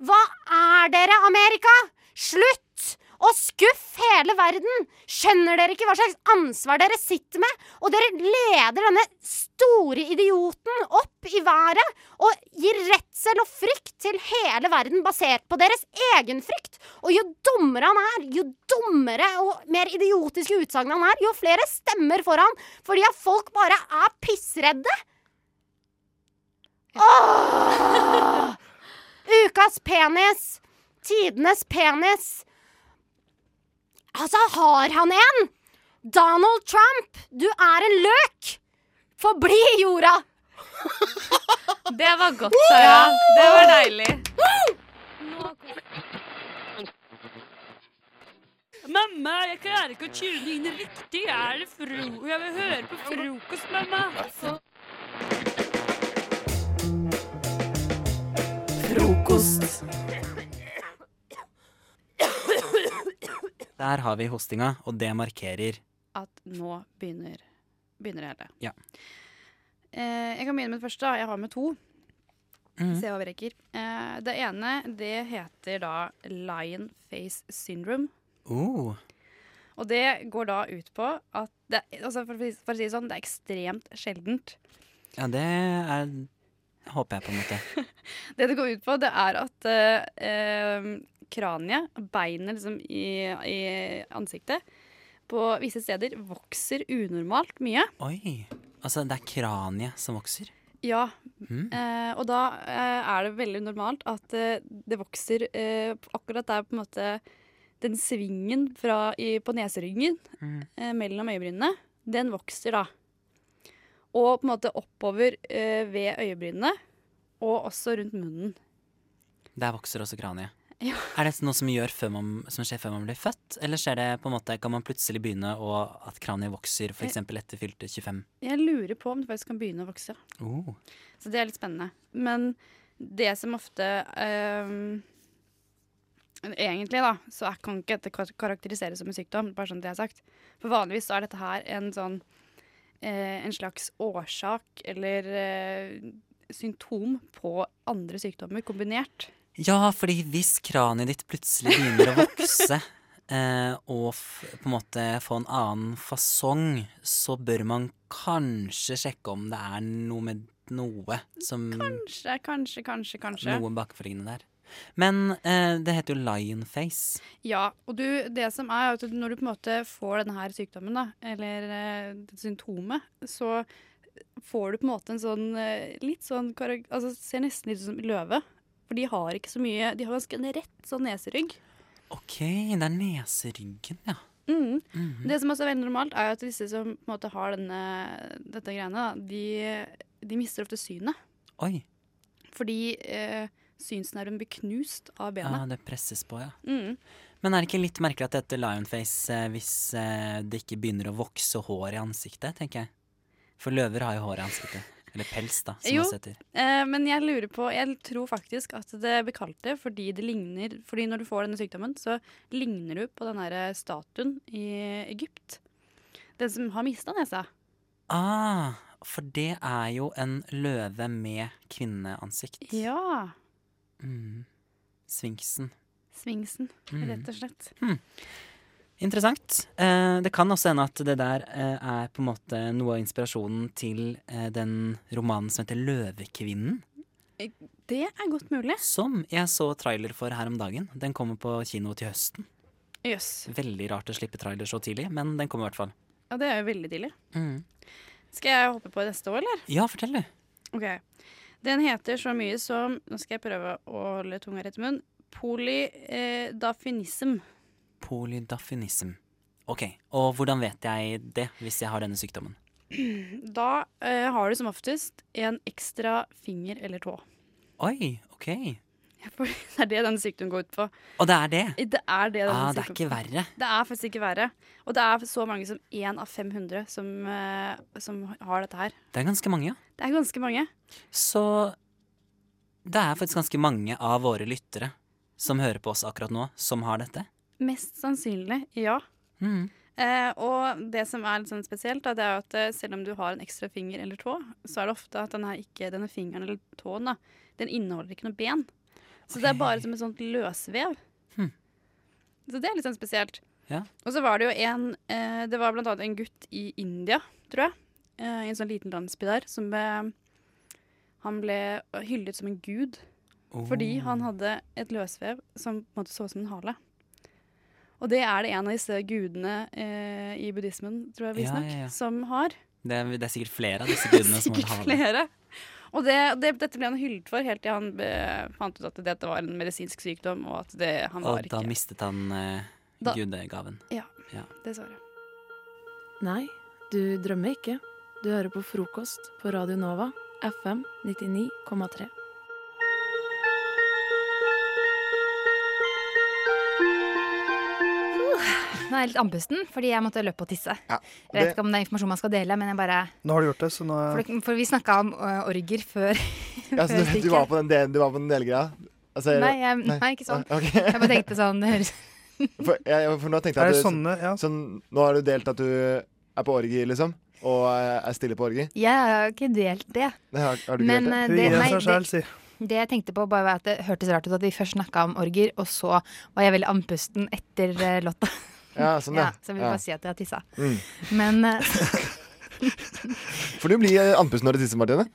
Speaker 17: Hva er dere, Amerika? Slutt Og skuff hele verden! Skjønner dere ikke hva slags ansvar dere sitter med? Og dere leder denne store idioten opp i været og gir redsel og frykt til hele verden basert på deres egen frykt. Og jo dummere han er, jo dummere og mer idiotiske utsagn han er, jo flere stemmer får han fordi at folk bare er pissredde. Åh! Ah! Ukas penis. Tidenes penis. Altså, har han en? Donald Trump, du er en løk! Forbli i jorda!
Speaker 12: Det var godt, Sara. Det var deilig. Mamma, jeg klarer ikke å tune inn riktig. Er det fro... Jeg vil høre på frokost, mamma.
Speaker 9: Frokost.
Speaker 21: Der har vi hostinga, og det markerer
Speaker 10: at nå begynner, begynner det
Speaker 21: Ja.
Speaker 10: hele. Eh, jeg kan begynne med det første. da. Jeg har med to.
Speaker 21: Mhm.
Speaker 10: Se hva vi rekker. Eh, det ene det heter da lion face syndrome.
Speaker 21: oh.
Speaker 10: Og det går da ut på at det, altså for, å si- for å si det sånn, det er ekstremt sjeldent.
Speaker 21: Ja, det er Håper jeg, på en måte.
Speaker 10: Det det går ut på, det er at eh, eh, kraniet, beinet liksom i, i ansiktet, på visse steder vokser unormalt mye.
Speaker 21: Oi. Altså, det er kraniet som vokser.
Speaker 10: Ja.
Speaker 21: Mm.
Speaker 10: Eh, og da eh, er det veldig normalt at eh, det vokser eh, på- akkurat der på en måte den svingen fra, i, på neseryggen
Speaker 21: Mm.
Speaker 10: eh, mellom øyebrynene, den vokser da. Og på en måte oppover eh, ved øyebrynene, og også rundt munnen.
Speaker 21: Der vokser også kraniet.
Speaker 10: Ja.
Speaker 21: Er det noe som, gjør før man, som skjer før man blir født, eller skjer det på en måte, kan man plutselig begynne å, at kraniet vokser for eksempel etter fylte 25?
Speaker 10: Jeg lurer på om det faktisk kan begynne å vokse.
Speaker 21: Oh.
Speaker 10: Så det er litt spennende. Men det som ofte ehm, Egentlig, da, så er- kan ikke dette kar- karakteriseres som en sykdom, bare sånn det er sagt. For vanligvis så er dette her en sånn eh, En slags årsak eller eh, symptom på andre sykdommer kombinert.
Speaker 21: Ja, fordi hvis kraniet ditt plutselig begynner å vokse, eh, og f på en måte få en annen fasong, så bør man kanskje sjekke om det er noe med noe som
Speaker 10: Kanskje, kanskje, kanskje, kanskje.
Speaker 21: Noe bakforliggende der. Men eh, det heter jo lionface.
Speaker 10: Ja, og du, det som er at når du på en måte får denne her sykdommen, da, eller eh, det symptomet, så får du på en måte en sånn eh, litt sånn karak- Altså ser nesten litt ut som løve. For de har ikke så mye De har ganske en rett sånn neserygg.
Speaker 21: OK, det er neseryggen, ja.
Speaker 10: Mm.
Speaker 21: Mhm.
Speaker 10: Det som også er veldig normalt, er jo at disse som på en måte har denne, dette greiene, da, de, de mister ofte synet.
Speaker 21: Oi.
Speaker 10: Fordi eh, synsnerven blir knust av
Speaker 21: Ja,
Speaker 10: benet.
Speaker 21: Ah, det presses på, ja.
Speaker 10: Mm.
Speaker 21: Men er det ikke litt merkelig at det heter lionface eh, hvis eh, det ikke begynner å vokse hår i ansiktet, tenker jeg? For løver har jo hår i ansiktet. Eller pels, da, som
Speaker 10: jo,
Speaker 21: det heter.
Speaker 10: eh, men jeg lurer på Jeg tror faktisk at det blir kalt det fordi det ligner Fordi når du får denne sykdommen, så ligner du på den her statuen i Egypt. Den som har mista nesa.
Speaker 21: Ah, for det er jo en løve med kvinneansikt.
Speaker 10: Ja.
Speaker 21: Mm. Sfinksen.
Speaker 10: Svingsen,
Speaker 21: Mm.
Speaker 10: rett og slett.
Speaker 21: Interessant. Eh, det kan også hende at det der eh, er på en måte noe av inspirasjonen til eh, den romanen som heter Løvekvinnen.
Speaker 10: Eh, Det er godt mulig.
Speaker 21: Som jeg så trailer for her om dagen. Den kommer på kino til høsten.
Speaker 10: Jøss.
Speaker 21: Veldig rart å slippe trailer så tidlig, men den kommer i hvert fall.
Speaker 10: Ja, det er jo veldig tidlig.
Speaker 21: Mm.
Speaker 10: Skal jeg hoppe på neste år, eller?
Speaker 21: Ja, fortell, du.
Speaker 10: Ok. Den heter så mye som Nå skal jeg prøve å holde tunga rett i munnen. Polydafinism.
Speaker 21: Polydafinism. Ok, og hvordan vet jeg det hvis jeg har denne sykdommen?
Speaker 10: Da eh, har du som oftest en ekstra finger eller tå.
Speaker 21: Oi, ok.
Speaker 10: For det er det denne sykdommen går ut på.
Speaker 21: Og det er det?
Speaker 10: Det er det denne
Speaker 21: Ah, det er
Speaker 10: sykdommen-
Speaker 21: ikke verre.
Speaker 10: Det er faktisk ikke verre. Og det er så mange som én av 500 som, eh, som har dette her.
Speaker 21: Det er ganske mange, ja.
Speaker 10: Det er ganske mange.
Speaker 21: Så det er faktisk ganske mange av våre lyttere som hører på oss akkurat nå, som har dette.
Speaker 10: Mest sannsynlig, ja.
Speaker 21: Mhm.
Speaker 10: Eh, og det som er litt sånn spesielt, da, det er jo at eh, selv om du har en ekstra finger eller tå, så er det ofte at denne, ikke, denne fingeren eller tåen da, den inneholder ikke noe ben. Så det er bare som et sånt løsvev.
Speaker 21: Hmm.
Speaker 10: Så det er litt sånn spesielt.
Speaker 21: Ja.
Speaker 10: Og så var det jo en eh, Det var blant annet en gutt i India, tror jeg. Eh, I en sånn liten landsby der. Som ble Han ble hyllet som en gud.
Speaker 17: Oh.
Speaker 10: Fordi han hadde et løsvev som på en måte så ut som en hale. Og det er det en av disse gudene eh, i buddhismen, tror jeg
Speaker 21: Ja,
Speaker 10: visstnok,
Speaker 21: ja, ja.
Speaker 10: som har.
Speaker 21: Det er, det er sikkert flere av disse gudene som har hale.
Speaker 10: Flere. Og det, det, dette ble han hyllet for helt til han eh, fant ut at dette var en medisinsk sykdom, og at det, han var
Speaker 21: Og da mistet han eh,
Speaker 10: Da-
Speaker 21: gudegaven.
Speaker 10: Ja,
Speaker 21: Ja.
Speaker 10: dessverre.
Speaker 13: Nei, du drømmer ikke. Du hører på frokost på Radio Nova, FM 99,3.
Speaker 18: Nå er jeg litt andpusten, fordi jeg måtte løpe og tisse. jeg vet
Speaker 19: det-
Speaker 18: ikke om det er informasjon man skal dele, men jeg bare
Speaker 19: Nå har du gjort det, så nå
Speaker 18: For, dere- for vi snakka om ø, orger før.
Speaker 20: Ja, så
Speaker 18: før
Speaker 20: du, du,
Speaker 18: stikket.
Speaker 20: var på den del, du var på den delgreia? Altså, er det-
Speaker 18: nei, jeg, nei, ikke sånn.
Speaker 20: Ok.
Speaker 18: jeg bare tenkte sånn det høres
Speaker 20: For, ja, ja, for nå tenkte jeg
Speaker 19: Er
Speaker 20: at
Speaker 19: det
Speaker 20: du, sånn, Nå har du delt at du er på orgi, liksom. Og eh, er stille på orgi.
Speaker 18: Jeg har ikke delt det.
Speaker 20: Det har, har du ikke
Speaker 18: Men,
Speaker 20: delt
Speaker 18: eh,
Speaker 20: det?
Speaker 18: det- Hun gir nei, seg selv, det- Det jeg tenkte på, bare var at det hørtes rart ut at vi først snakka om orger, og så var jeg veldig andpusten etter eh, låta.
Speaker 20: Ja, sånn, ja.
Speaker 18: så jeg vil
Speaker 20: Ja.
Speaker 18: bare si at jeg har tissa.
Speaker 20: Mm.
Speaker 18: Men eh,
Speaker 20: For du blir eh, andpusten når du tisser, Martine.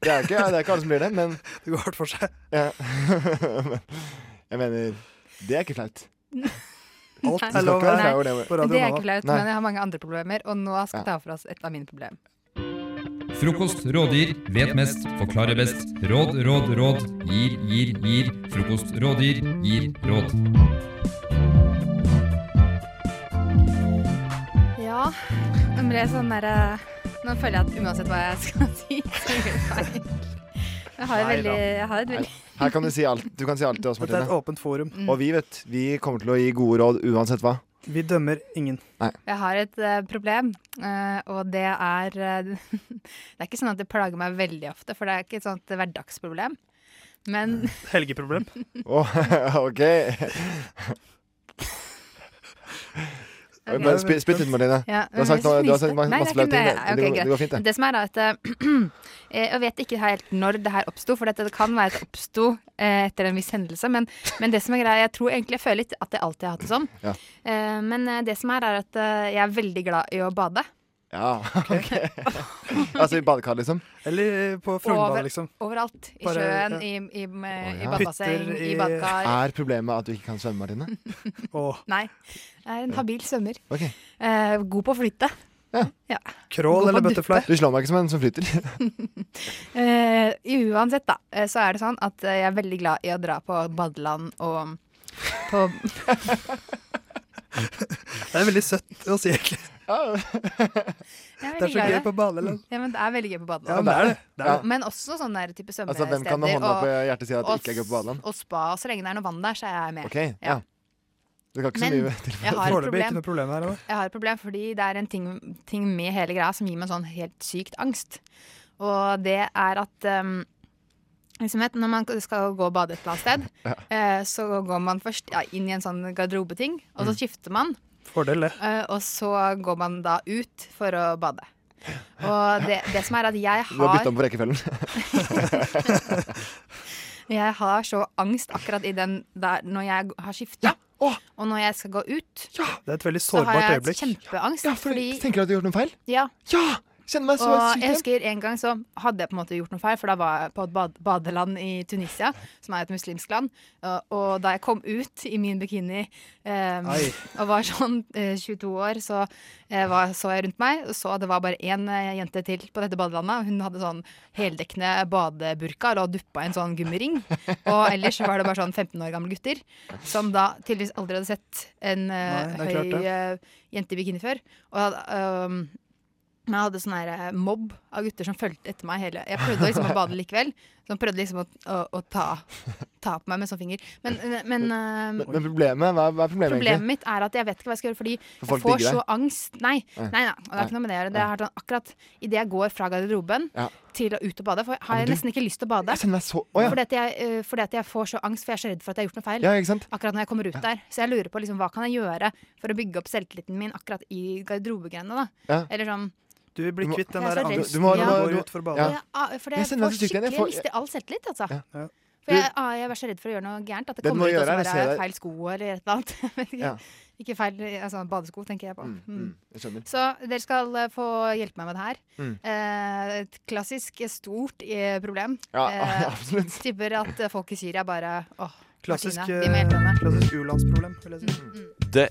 Speaker 20: Det er, ikke, det er ikke alle som blir det, men
Speaker 19: Det går hardt for seg.
Speaker 20: Ja. jeg mener Det er ikke flaut.
Speaker 19: Alt
Speaker 20: er lov her på
Speaker 18: Nei,
Speaker 20: Radio
Speaker 18: Det er
Speaker 20: Nova.
Speaker 18: ikke flaut,
Speaker 20: Nei.
Speaker 18: men jeg har mange andre problemer, og nå skal jeg
Speaker 20: Ja.
Speaker 18: ta for oss et av mine problemer.
Speaker 11: Frokost rådgir, vet mest, forklarer best. Råd, råd, råd. Gir, gir, gir. Frokost rådgir, gir råd.
Speaker 18: Ja. Nå ble jeg sånn der eh, Nå føler jeg at uansett hva jeg skal si, så gjør jeg feil. Jeg har, et
Speaker 20: Nei da.
Speaker 18: veldig, jeg har et veldig
Speaker 20: Her kan du si alt. Du kan si alt til oss,
Speaker 19: Dette
Speaker 20: Martine.
Speaker 19: er et åpent forum.
Speaker 20: Og vi, vet Vi kommer til å gi gode råd uansett hva.
Speaker 19: Vi dømmer ingen.
Speaker 20: Nei.
Speaker 18: Jeg har et eh, problem, eh, og det er eh, Det er ikke sånn at det plager meg veldig ofte, for det er ikke et sånt hverdagsproblem. Men
Speaker 19: Helgeproblem.
Speaker 20: Åh, OK. Bare spy- spytt ut, Martine.
Speaker 18: Ja,
Speaker 20: du har sagt,
Speaker 18: men jeg
Speaker 20: noe, du har
Speaker 18: fnyste.
Speaker 20: sagt ma-
Speaker 18: Nei,
Speaker 20: masse
Speaker 18: det er
Speaker 20: flaue
Speaker 18: ikke
Speaker 20: ting.
Speaker 18: det.
Speaker 20: Det,
Speaker 18: Ok,
Speaker 20: det, går-
Speaker 18: greit.
Speaker 20: det går fint, det.
Speaker 18: Det som er da at eh, Jeg vet ikke helt når det her oppsto, for dette kan være at det oppsto eh, etter en viss hendelse. Men, men det som er greia, jeg tror egentlig jeg føler litt at jeg alltid har hatt det sånn.
Speaker 20: Ja.
Speaker 18: Eh, Men eh, det som er, er at eh, jeg er veldig glad i å bade.
Speaker 20: ja. ok. altså i badekar, liksom?
Speaker 19: Eller eh, på
Speaker 18: Over- Overalt. I
Speaker 19: liksom Bare-
Speaker 18: sjøen,
Speaker 19: ja.
Speaker 18: i, i, i
Speaker 20: ja.
Speaker 18: badebasseng,
Speaker 19: Hytter
Speaker 18: i
Speaker 19: i-
Speaker 18: badekar.
Speaker 20: Er problemet at du ikke kan svømme, Martine?
Speaker 18: Nei. Jeg er en habil svømmer.
Speaker 20: Ok.
Speaker 18: Eh, god på å flytte. Ja.
Speaker 20: Crawl
Speaker 18: eller butterfly?
Speaker 20: Du slår meg ikke som en som flyter.
Speaker 18: Eh, uansett, da, eh, så er det sånn at eh, jeg er veldig glad i å dra på badeland og på
Speaker 19: Det er veldig søtt å si, egentlig.
Speaker 18: Jeg
Speaker 19: Det er så
Speaker 18: veldig glad i
Speaker 19: gøy på badeland.
Speaker 18: Ja, men det er veldig gøy på badeland.
Speaker 20: Ja, det er det. Det er det.
Speaker 18: Men også sånne der type
Speaker 20: Altså,
Speaker 18: svømmesteder.
Speaker 20: hvem kan med hånda
Speaker 18: og-
Speaker 20: på hjertet si at det
Speaker 18: og
Speaker 20: ikke er gøy på badeland?
Speaker 18: s- Og spa. og Så lenge det er noe vann der, så er jeg med.
Speaker 20: OK, ja. Det kan ikke så
Speaker 18: Men
Speaker 20: mye til.
Speaker 18: jeg har et Foreløpig ikke problem. noe
Speaker 19: problem her,
Speaker 18: Jeg har et problem fordi det er en ting, ting med hele greia som gir meg sånn helt sykt angst. Og det er at um, liksom vet, når man skal gå og bade et eller annet sted,
Speaker 19: Ja.
Speaker 18: eh, så går man først ja, inn i en sånn garderobeting, og så
Speaker 19: Mm.
Speaker 18: skifter man.
Speaker 19: Fordel, det.
Speaker 18: Eh, og så går man da ut for å bade. Og det, det som er at jeg
Speaker 20: Du har
Speaker 18: har,
Speaker 20: bytta om på rekkefølgen.
Speaker 18: jeg har så angst akkurat i den der når jeg har skifta, og når jeg skal gå ut,
Speaker 19: Det er et veldig
Speaker 18: så har
Speaker 19: sårbart
Speaker 18: jeg
Speaker 19: øyeblikk.
Speaker 18: kjempeangst. fordi,
Speaker 20: Tenker du at du har gjort noe feil?
Speaker 18: ja.
Speaker 20: Kjenner meg så
Speaker 18: og
Speaker 20: sykt
Speaker 18: jeg
Speaker 20: igjen.
Speaker 18: husker En gang så hadde jeg på en måte gjort noe feil, for da var jeg på et bad badeland i Tunisia, som er et muslimsk land. Og, og da jeg kom ut i min bikini eh,
Speaker 17: Ai.
Speaker 18: og var sånn eh, 22 år, så eh, var, så jeg rundt meg og så at det var bare én eh, jente til på dette badelandet. og Hun hadde sånn heldekkende badeburka og duppa i en sånn gummiring. Og ellers så var det bare sånn 15 år gamle gutter som da tydeligvis aldri hadde sett en eh,
Speaker 17: Nei, det er klart
Speaker 18: høy eh, jente i bikini før. Og um, men jeg hadde sånn her eh, mobb av gutter som fulgte etter meg hele Jeg prøvde liksom å bade likevel. Så han prøvde liksom å, å, å ta, ta på meg med sånn finger. Men, men, eh,
Speaker 20: Men, men problemet, hva, hva er problemet,
Speaker 18: problemet
Speaker 20: egentlig?
Speaker 18: mitt er at jeg vet ikke hva jeg skal gjøre, fordi
Speaker 20: For
Speaker 18: jeg
Speaker 20: folk
Speaker 18: får
Speaker 20: digger
Speaker 18: så
Speaker 20: deg?
Speaker 18: angst Nei, nei,
Speaker 20: Nei.
Speaker 18: nei, og det er ikke noe med det å gjøre. Det er sånn akkurat idet jeg går fra garderoben
Speaker 20: Ja.
Speaker 18: til å ut og bade, for har
Speaker 20: men
Speaker 18: jeg
Speaker 20: du-
Speaker 18: nesten ikke lyst til å bade.
Speaker 20: Jeg kjenner meg så Å ja.
Speaker 18: fordi, at jeg, eh, fordi at jeg får så angst, for jeg er så redd for at jeg har gjort noe feil.
Speaker 20: Ja, ikke sant?
Speaker 18: Akkurat når jeg kommer ut
Speaker 20: Ja.
Speaker 18: der. Så jeg lurer på liksom, hva kan jeg gjøre for å bygge opp selvtilliten min akkurat i garderobegreiene. da
Speaker 20: Ja.
Speaker 18: Eller sånn
Speaker 19: Du blir
Speaker 20: må-
Speaker 19: kvitt den
Speaker 18: Jeg er
Speaker 19: der
Speaker 18: så redd.
Speaker 19: angsten
Speaker 18: Du må-
Speaker 19: når
Speaker 18: du
Speaker 19: du
Speaker 18: må-
Speaker 19: går
Speaker 18: du-
Speaker 19: ut for å bade.
Speaker 18: Ja. ah, for jeg
Speaker 20: Jeg kjenner meg
Speaker 18: får
Speaker 20: så sykt igjen. Jeg
Speaker 18: skikkelig
Speaker 20: får-
Speaker 18: jeg mister all selvtillit, altså.
Speaker 20: Ja.
Speaker 18: For For jeg, ah, jeg var så redd for å gjøre noe gærent. At det
Speaker 20: Det du må
Speaker 18: kommer ut og
Speaker 20: gjøre er å
Speaker 18: så
Speaker 20: se
Speaker 18: være
Speaker 20: deg-
Speaker 18: feil sko eller et eller annet. Men ikke,
Speaker 20: Ja.
Speaker 18: ikke feil altså, badesko, tenker jeg på.
Speaker 20: Mm,
Speaker 18: Mm.
Speaker 20: mm, jeg skjønner.
Speaker 18: Så dere skal eh, få hjelpe meg med det her.
Speaker 20: Mm.
Speaker 18: Eh, et klassisk eh, stort eh, problem.
Speaker 20: Ja,
Speaker 18: Eh,
Speaker 20: absolutt.
Speaker 18: Tipper at eh, folk i Syria bare åh,
Speaker 19: Klassisk,
Speaker 18: Martine, vi må hjelpe
Speaker 19: eh, klassisk u-landsproblem, vil
Speaker 18: Mm.
Speaker 19: jeg si.
Speaker 1: Det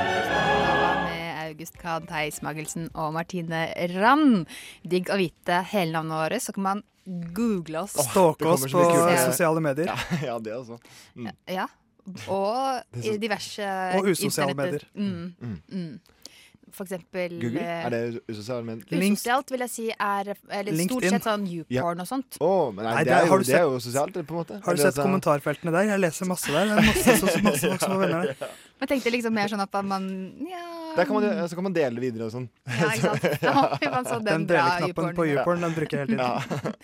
Speaker 18: med August Kahn, Theis Magelsen og Martine Rand. Digg å vite hele navnet vårt, så kan man google oss.
Speaker 19: Stalke oss
Speaker 20: kommer så
Speaker 19: på
Speaker 20: mye kult.
Speaker 19: eh, sosiale medier.
Speaker 20: Ja, det altså. Mm.
Speaker 18: Ja. Og
Speaker 20: Det er så-
Speaker 18: i diverse
Speaker 20: Og usosiale
Speaker 18: internettet.
Speaker 20: medier.
Speaker 18: Mm. Mm. For eksempel
Speaker 20: Google?
Speaker 18: eh,
Speaker 20: Er det usosialt ment?
Speaker 18: Usosialt vil jeg si er eller stort
Speaker 19: LinkedIn.
Speaker 18: sett sånn YouPorn og sånt.
Speaker 20: Å, men nei,
Speaker 19: Nei,
Speaker 20: det,
Speaker 19: der har
Speaker 20: er jo,
Speaker 19: du
Speaker 20: det
Speaker 19: sett-
Speaker 20: er jo sosialt, på en måte.
Speaker 19: Har du
Speaker 20: Eller
Speaker 19: sett
Speaker 20: at-
Speaker 19: kommentarfeltene der? Jeg leser masse der. Det er masse, masse, masse folk som har venner der.
Speaker 18: Men tenkte liksom mer sånn at man ja,
Speaker 20: Der kan man, jo- så kan man dele videre og sånn.
Speaker 18: ja, ikke sant? Da håper man sånn den
Speaker 19: Den
Speaker 18: bra
Speaker 19: deleknappen på
Speaker 18: YouPorn.
Speaker 19: YouPorn den bruker jeg hele tiden.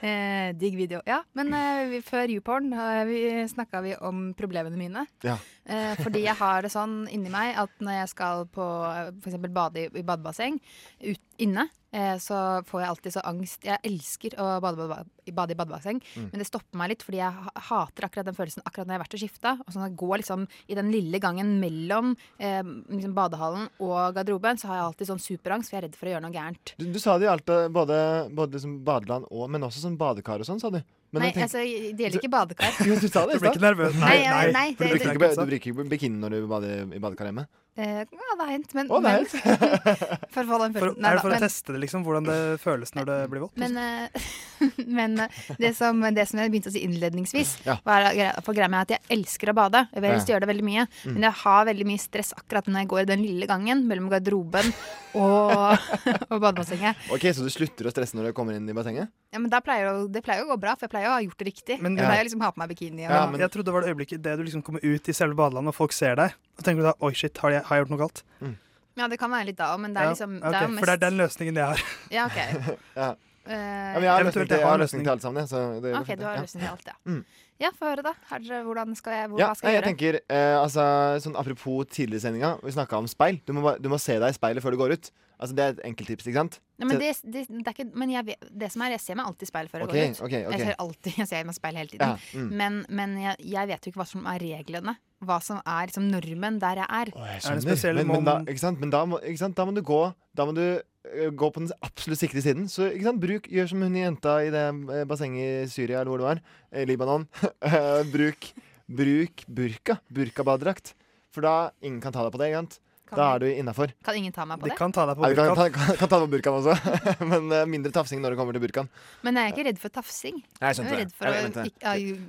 Speaker 18: Eh, digg video. Ja, men eh, vi, før YouPorn uh, snakka vi om problemene mine.
Speaker 15: 啊
Speaker 20: Ja.
Speaker 18: Eh, fordi jeg har det sånn inni meg at når jeg skal på eh, for eksempel bade i, i badebasseng ut, inne, eh, så får jeg alltid så angst. Jeg elsker å bade, bade, bade, bade i badebasseng,
Speaker 10: Mm.
Speaker 18: men det stopper meg litt fordi jeg ha- hater akkurat den følelsen akkurat når jeg har vært og skifta. Og sånn at jeg går liksom i den lille gangen mellom eh, liksom badehallen og garderoben, så har jeg alltid sånn superangst, for jeg er redd for å gjøre noe gærent.
Speaker 20: Du, du sa det gjaldt eh, både, både liksom badeland og Men også sånn badekar og sånn, sa du. Men
Speaker 18: Nei,
Speaker 20: jeg tenker-
Speaker 18: altså, det gjelder ikke badekar.
Speaker 20: Jo, du sa det i
Speaker 18: Du blir
Speaker 20: stad.
Speaker 18: ikke nervøs. Nei, Nei, nei, nei,
Speaker 20: For Du
Speaker 18: det-
Speaker 20: bruker
Speaker 18: det-
Speaker 20: ikke, du bruker ikke bikini når du bader i badekar hjemme?
Speaker 18: Eh, ja, det har hendt, men,
Speaker 20: Å, det har
Speaker 18: men For å få den
Speaker 19: For,
Speaker 18: følelsen.
Speaker 19: er det for å
Speaker 18: men,
Speaker 19: teste det, liksom, hvordan det føles når det blir vått?
Speaker 18: men, eh, men eh, det, som, det som jeg begynte å si innledningsvis,
Speaker 19: Ja.
Speaker 18: var greia- for greia med at jeg elsker å bade. Jeg vil helst
Speaker 19: Ja.
Speaker 18: gjøre det veldig mye,
Speaker 20: Mm.
Speaker 18: men jeg har veldig mye stress akkurat når jeg går den lille gangen mellom garderoben og, og badebassenget.
Speaker 20: Ok, Så du slutter å stresse når du kommer inn i bassenget?
Speaker 18: Ja, men da pleier jo, det pleier jo å gå bra, for jeg pleier jo å ha gjort det riktig.
Speaker 19: Men-
Speaker 18: jeg
Speaker 19: Ja.
Speaker 18: pleier liksom å ha på meg bikini. Og,
Speaker 19: Ja, Jeg trodde det var det øyeblikket det du liksom kommer ut i selve badelandet og folk ser deg. Og tenker du da oi shit, har jeg, har jeg gjort noe galt?
Speaker 20: Mm.
Speaker 18: ja, det kan være litt da òg, men det er
Speaker 19: Ja,
Speaker 18: liksom
Speaker 19: ok,
Speaker 18: det er jo mest,
Speaker 19: For det er den løsningen jeg har.
Speaker 18: Ja, ok.
Speaker 20: Ja.
Speaker 18: Eh,
Speaker 20: Ja, men jeg har løsning
Speaker 19: Eventuelt
Speaker 20: til,
Speaker 19: jeg
Speaker 20: jeg
Speaker 19: har
Speaker 20: har
Speaker 19: løsning.
Speaker 20: løsning til alt sammen. jeg, Så det går
Speaker 18: Ok,
Speaker 20: fint,
Speaker 18: du har
Speaker 20: ja.
Speaker 18: løsning til alt, ja.
Speaker 20: Mm.
Speaker 18: Ja, få høre, da. Har dere- hvordan skal jeg, hvor,
Speaker 20: Ja,
Speaker 18: hva skal
Speaker 20: nei,
Speaker 18: jeg,
Speaker 20: jeg tenker, eh, altså, sånn Apropos tidligere i sendinga, vi snakka om speil. Du må, bare- du må se deg i speilet før du går ut. Altså, Det er et enkelttips, ikke sant?
Speaker 18: Nei, men
Speaker 20: Se-
Speaker 18: det, det, det er ikke Men jeg, vet- det som er, jeg ser meg alltid i speil før jeg
Speaker 20: Ok,
Speaker 18: går ut.
Speaker 20: ok, ok.
Speaker 18: Jeg ser alltid jeg ser meg i speil hele tiden.
Speaker 20: Ja, mm.
Speaker 18: Men, men jeg, jeg vet jo ikke hva som er reglene. Hva som er liksom, normen der jeg er.
Speaker 20: Jeg skjønner, men, men, da, ikke sant? men da, må, ikke sant? da må du gå Da må du eh, gå på den absolutt sikre siden. Så ikke sant? Bruk, Gjør som hun jenta i det eh, bassenget i Syria eller hvor det var. eh, Libanon. Eh, bruk, bruk burka. Burkabadedrakt. For da ingen kan ta deg på det. ikke sant?
Speaker 18: Kan
Speaker 20: Da er
Speaker 18: de?
Speaker 20: du innafor.
Speaker 18: Kan ingen ta meg på det?
Speaker 19: ta deg
Speaker 18: på
Speaker 20: kan,
Speaker 18: burkaen.
Speaker 20: kan, kan ta deg på burkaen også. men eh, mindre tafsing når det kommer til burkaen.
Speaker 18: Men jeg er ikke redd for tafsing.
Speaker 20: Nei, jeg
Speaker 18: er jo
Speaker 20: skjønte det.
Speaker 18: redd for
Speaker 20: Jeg mente
Speaker 18: å
Speaker 20: det.
Speaker 18: ikke,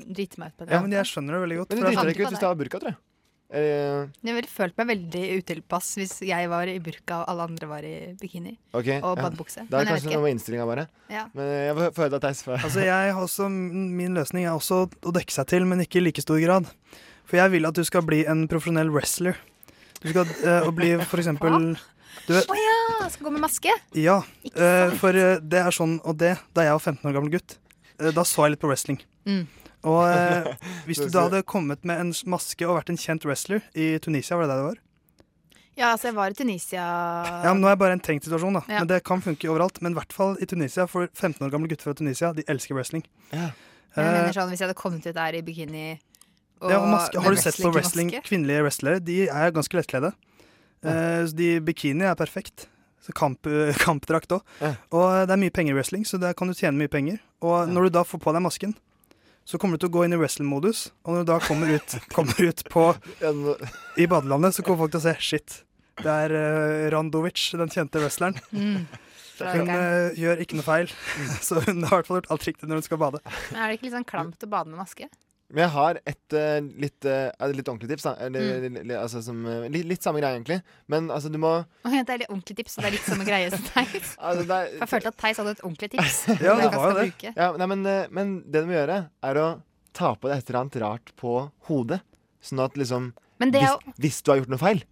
Speaker 18: ja, drite meg ut på det.
Speaker 19: Ja, men jeg skjønner det veldig godt.
Speaker 20: Men du
Speaker 19: for
Speaker 20: driter
Speaker 19: det
Speaker 20: deg ikke ut hvis du har burka, tror jeg. Eh,
Speaker 18: Jeg ville følt meg veldig utilpass hvis jeg var i burka og alle andre var i bikini.
Speaker 20: ok,
Speaker 18: Og
Speaker 20: ja.
Speaker 18: badebukse. Men
Speaker 20: Da er det
Speaker 18: jeg
Speaker 20: kanskje noe med innstillinga, bare.
Speaker 18: Ja.
Speaker 20: Men eh, jeg får høre deg, Theis. før-
Speaker 19: Altså, jeg har også, min løsning er også å dekke seg til, men ikke i like stor grad. For jeg vil at du skal bli en profesjonell wrestler. Du skal eh, å bli for eksempel du vet,
Speaker 18: Å ja! Skal gå med maske?
Speaker 19: Ja, eh, for eh, det er sånn, og det, da jeg var 15 år gammel gutt, eh, da så jeg litt på wrestling.
Speaker 18: Mm.
Speaker 19: Og eh, hvis du da hadde kommet med en maske og vært en kjent wrestler i Tunisia, var det der det var?
Speaker 18: Ja, altså, jeg var i Tunisia
Speaker 19: Ja, men Nå er jeg bare i en tenkt situasjon, da.
Speaker 18: Ja.
Speaker 19: Men det kan funke overalt. Men i hvert fall i Tunisia, for 15 år gamle gutter fra Tunisia, de elsker wrestling.
Speaker 18: Men jeg
Speaker 19: Eh,
Speaker 18: mener sånn, Hvis jeg hadde kommet ut der i bikini
Speaker 19: ja, og maske.
Speaker 18: med
Speaker 19: Har du sett på wrestling?
Speaker 18: wrestlingmaske?
Speaker 19: Kvinnelige wrestlere de er ganske lettkledde. Eh, så de Bikini er perfekt. Så kamp, eh, kampdrakt òg. Og det er mye penger i wrestling, så der kan du tjene mye penger. Og når du da får på deg masken, så kommer du til å gå inn i wrestling-modus. Og når du da kommer ut, kommer ut på, i badelandet, så kommer folk til å se shit. Det er eh, Randovic, den kjente wrestleren.
Speaker 18: Mm.
Speaker 19: Hun eh, gjør ikke noe feil, så hun har i hvert fall gjort alt riktig når hun skal bade.
Speaker 18: Men er det ikke litt sånn klamt å bade med maske?
Speaker 20: Men jeg har et eh, litt, eh, er det litt ordentlig tips. da? Eller,
Speaker 18: Mm.
Speaker 20: li- altså, som, eh, litt, litt samme greie, egentlig. Men altså, du må
Speaker 18: Å, ja, det er litt ordentlig tips, så det er litt samme greie som Theis. For jeg følte at Theis hadde et ordentlig tips. som jeg kan skal bruke.
Speaker 20: Ja, nei, men, eh, men det du må gjøre, er å ta på deg et eller annet rart på hodet. Sånn at liksom
Speaker 18: Men det er
Speaker 20: hvis, hvis du har gjort noe feil,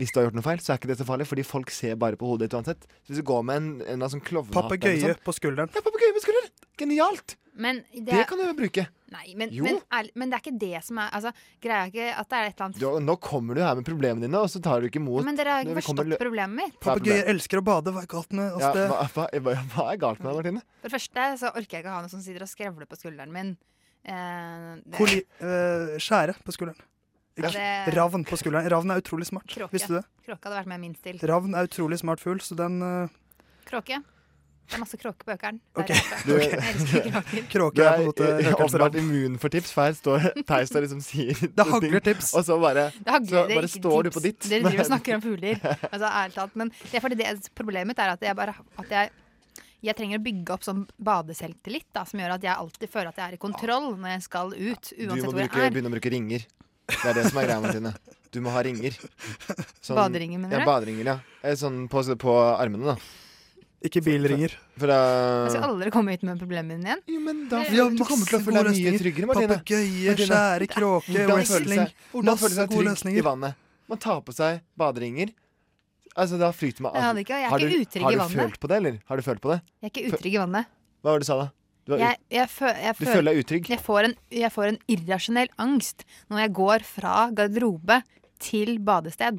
Speaker 20: hvis du har gjort noe feil, så er ikke det så farlig, fordi folk ser bare på hodet ditt uansett. Så hvis du går med en, en eller annen sånn klovnehatt eller
Speaker 19: Papegøye
Speaker 20: noe sånt,
Speaker 19: på skulderen.
Speaker 20: Genialt!
Speaker 18: Men det,
Speaker 20: Det kan du jo bruke.
Speaker 18: Nei, men,
Speaker 20: Jo.
Speaker 18: men, er, men det er ikke det som er altså, Greia er ikke at det er et eller annet
Speaker 20: Du, nå kommer du her med problemene dine, og så tar du ikke imot
Speaker 18: Men dere har
Speaker 20: når
Speaker 18: ikke
Speaker 20: vi kommer
Speaker 18: forstått
Speaker 20: lø-
Speaker 18: problemet mitt.
Speaker 20: Hva er problemet?
Speaker 19: Papegøyer elsker å bade. Hva er galt med oss?
Speaker 20: Ja,
Speaker 19: det?
Speaker 20: hva, hva, hva, hva er galt med deg, Martine?
Speaker 18: For det første så orker jeg ikke ha noe som sitter og skrevler på skulderen min. Eh, det,
Speaker 19: Koli, eh, skjære på skulderen.
Speaker 18: Ja.
Speaker 19: Ikke- Ravn på skulderen. Ravn er utrolig smart.
Speaker 18: Kråke.
Speaker 19: Visste du det?
Speaker 18: Kråke hadde vært med min stil.
Speaker 19: Ravn er utrolig smart fugl, så den eh,
Speaker 18: Kråke. Det er masse kråke på økeren.
Speaker 19: OK.
Speaker 18: Der er det.
Speaker 20: Du-
Speaker 18: Jeg elsker kråker.
Speaker 20: Du
Speaker 19: Kråke er
Speaker 20: er
Speaker 19: på en måte
Speaker 20: eh,
Speaker 19: økerens
Speaker 20: åpenbart
Speaker 19: ravn.
Speaker 20: immun for tips, for her står Theis og liksom sier Det
Speaker 19: hagler tips.
Speaker 20: Og så bare,
Speaker 18: Det hagler,
Speaker 20: så
Speaker 18: det er
Speaker 20: bare
Speaker 18: ikke
Speaker 20: står du
Speaker 18: tips.
Speaker 20: på ditt.
Speaker 18: Dere driver og snakker om fugler. Altså, ærlig talt. Men det er fordi det, problemet mitt er at jeg bare at jeg, jeg trenger å bygge opp sånn badeselvtillit da, som gjør at jeg alltid føler at jeg er i kontroll når jeg skal ut.
Speaker 20: Du
Speaker 18: Uansett
Speaker 20: må
Speaker 18: hvor jeg
Speaker 20: bruke,
Speaker 18: er.
Speaker 20: begynne å bruke ringer. Det er det som er greia, Martine. Du må ha ringer. Sånn-
Speaker 18: Baderinger, mener
Speaker 20: ja,
Speaker 18: du?
Speaker 20: baderinger, ja. Eh, Sånn på, på armene, da.
Speaker 19: Ikke bilringer.
Speaker 20: For da
Speaker 18: Jeg skal aldri komme hit med problemene mine igjen. Eh,
Speaker 20: da-
Speaker 18: Det-
Speaker 20: Vi har Du kommer til å føle deg mye tryggere, Martine.
Speaker 19: Papegøye,
Speaker 20: Martine,
Speaker 19: skjære, kråke,
Speaker 20: hvordan føle
Speaker 19: wrestling.
Speaker 20: seg- Hvordan
Speaker 19: Masse
Speaker 20: føle seg
Speaker 19: gode
Speaker 20: trygg
Speaker 19: løsninger.
Speaker 20: i vannet? Man tar på seg baderinger. Altså, da flyter man
Speaker 18: Jeg hadde ikke- jeg er
Speaker 20: Har
Speaker 18: ikke
Speaker 20: du-
Speaker 18: utrygg i
Speaker 20: Har
Speaker 18: vannet.
Speaker 20: du følt på det, eller? Har du følt på det?
Speaker 18: Jeg er ikke utrygg i vannet.
Speaker 20: Hva var det du sa, da? Du var ut-
Speaker 18: Jeg, jeg, fø, jeg
Speaker 20: Du føler deg utrygg?
Speaker 18: Jeg får, en, jeg får en irrasjonell angst når jeg går fra garderobe til badested.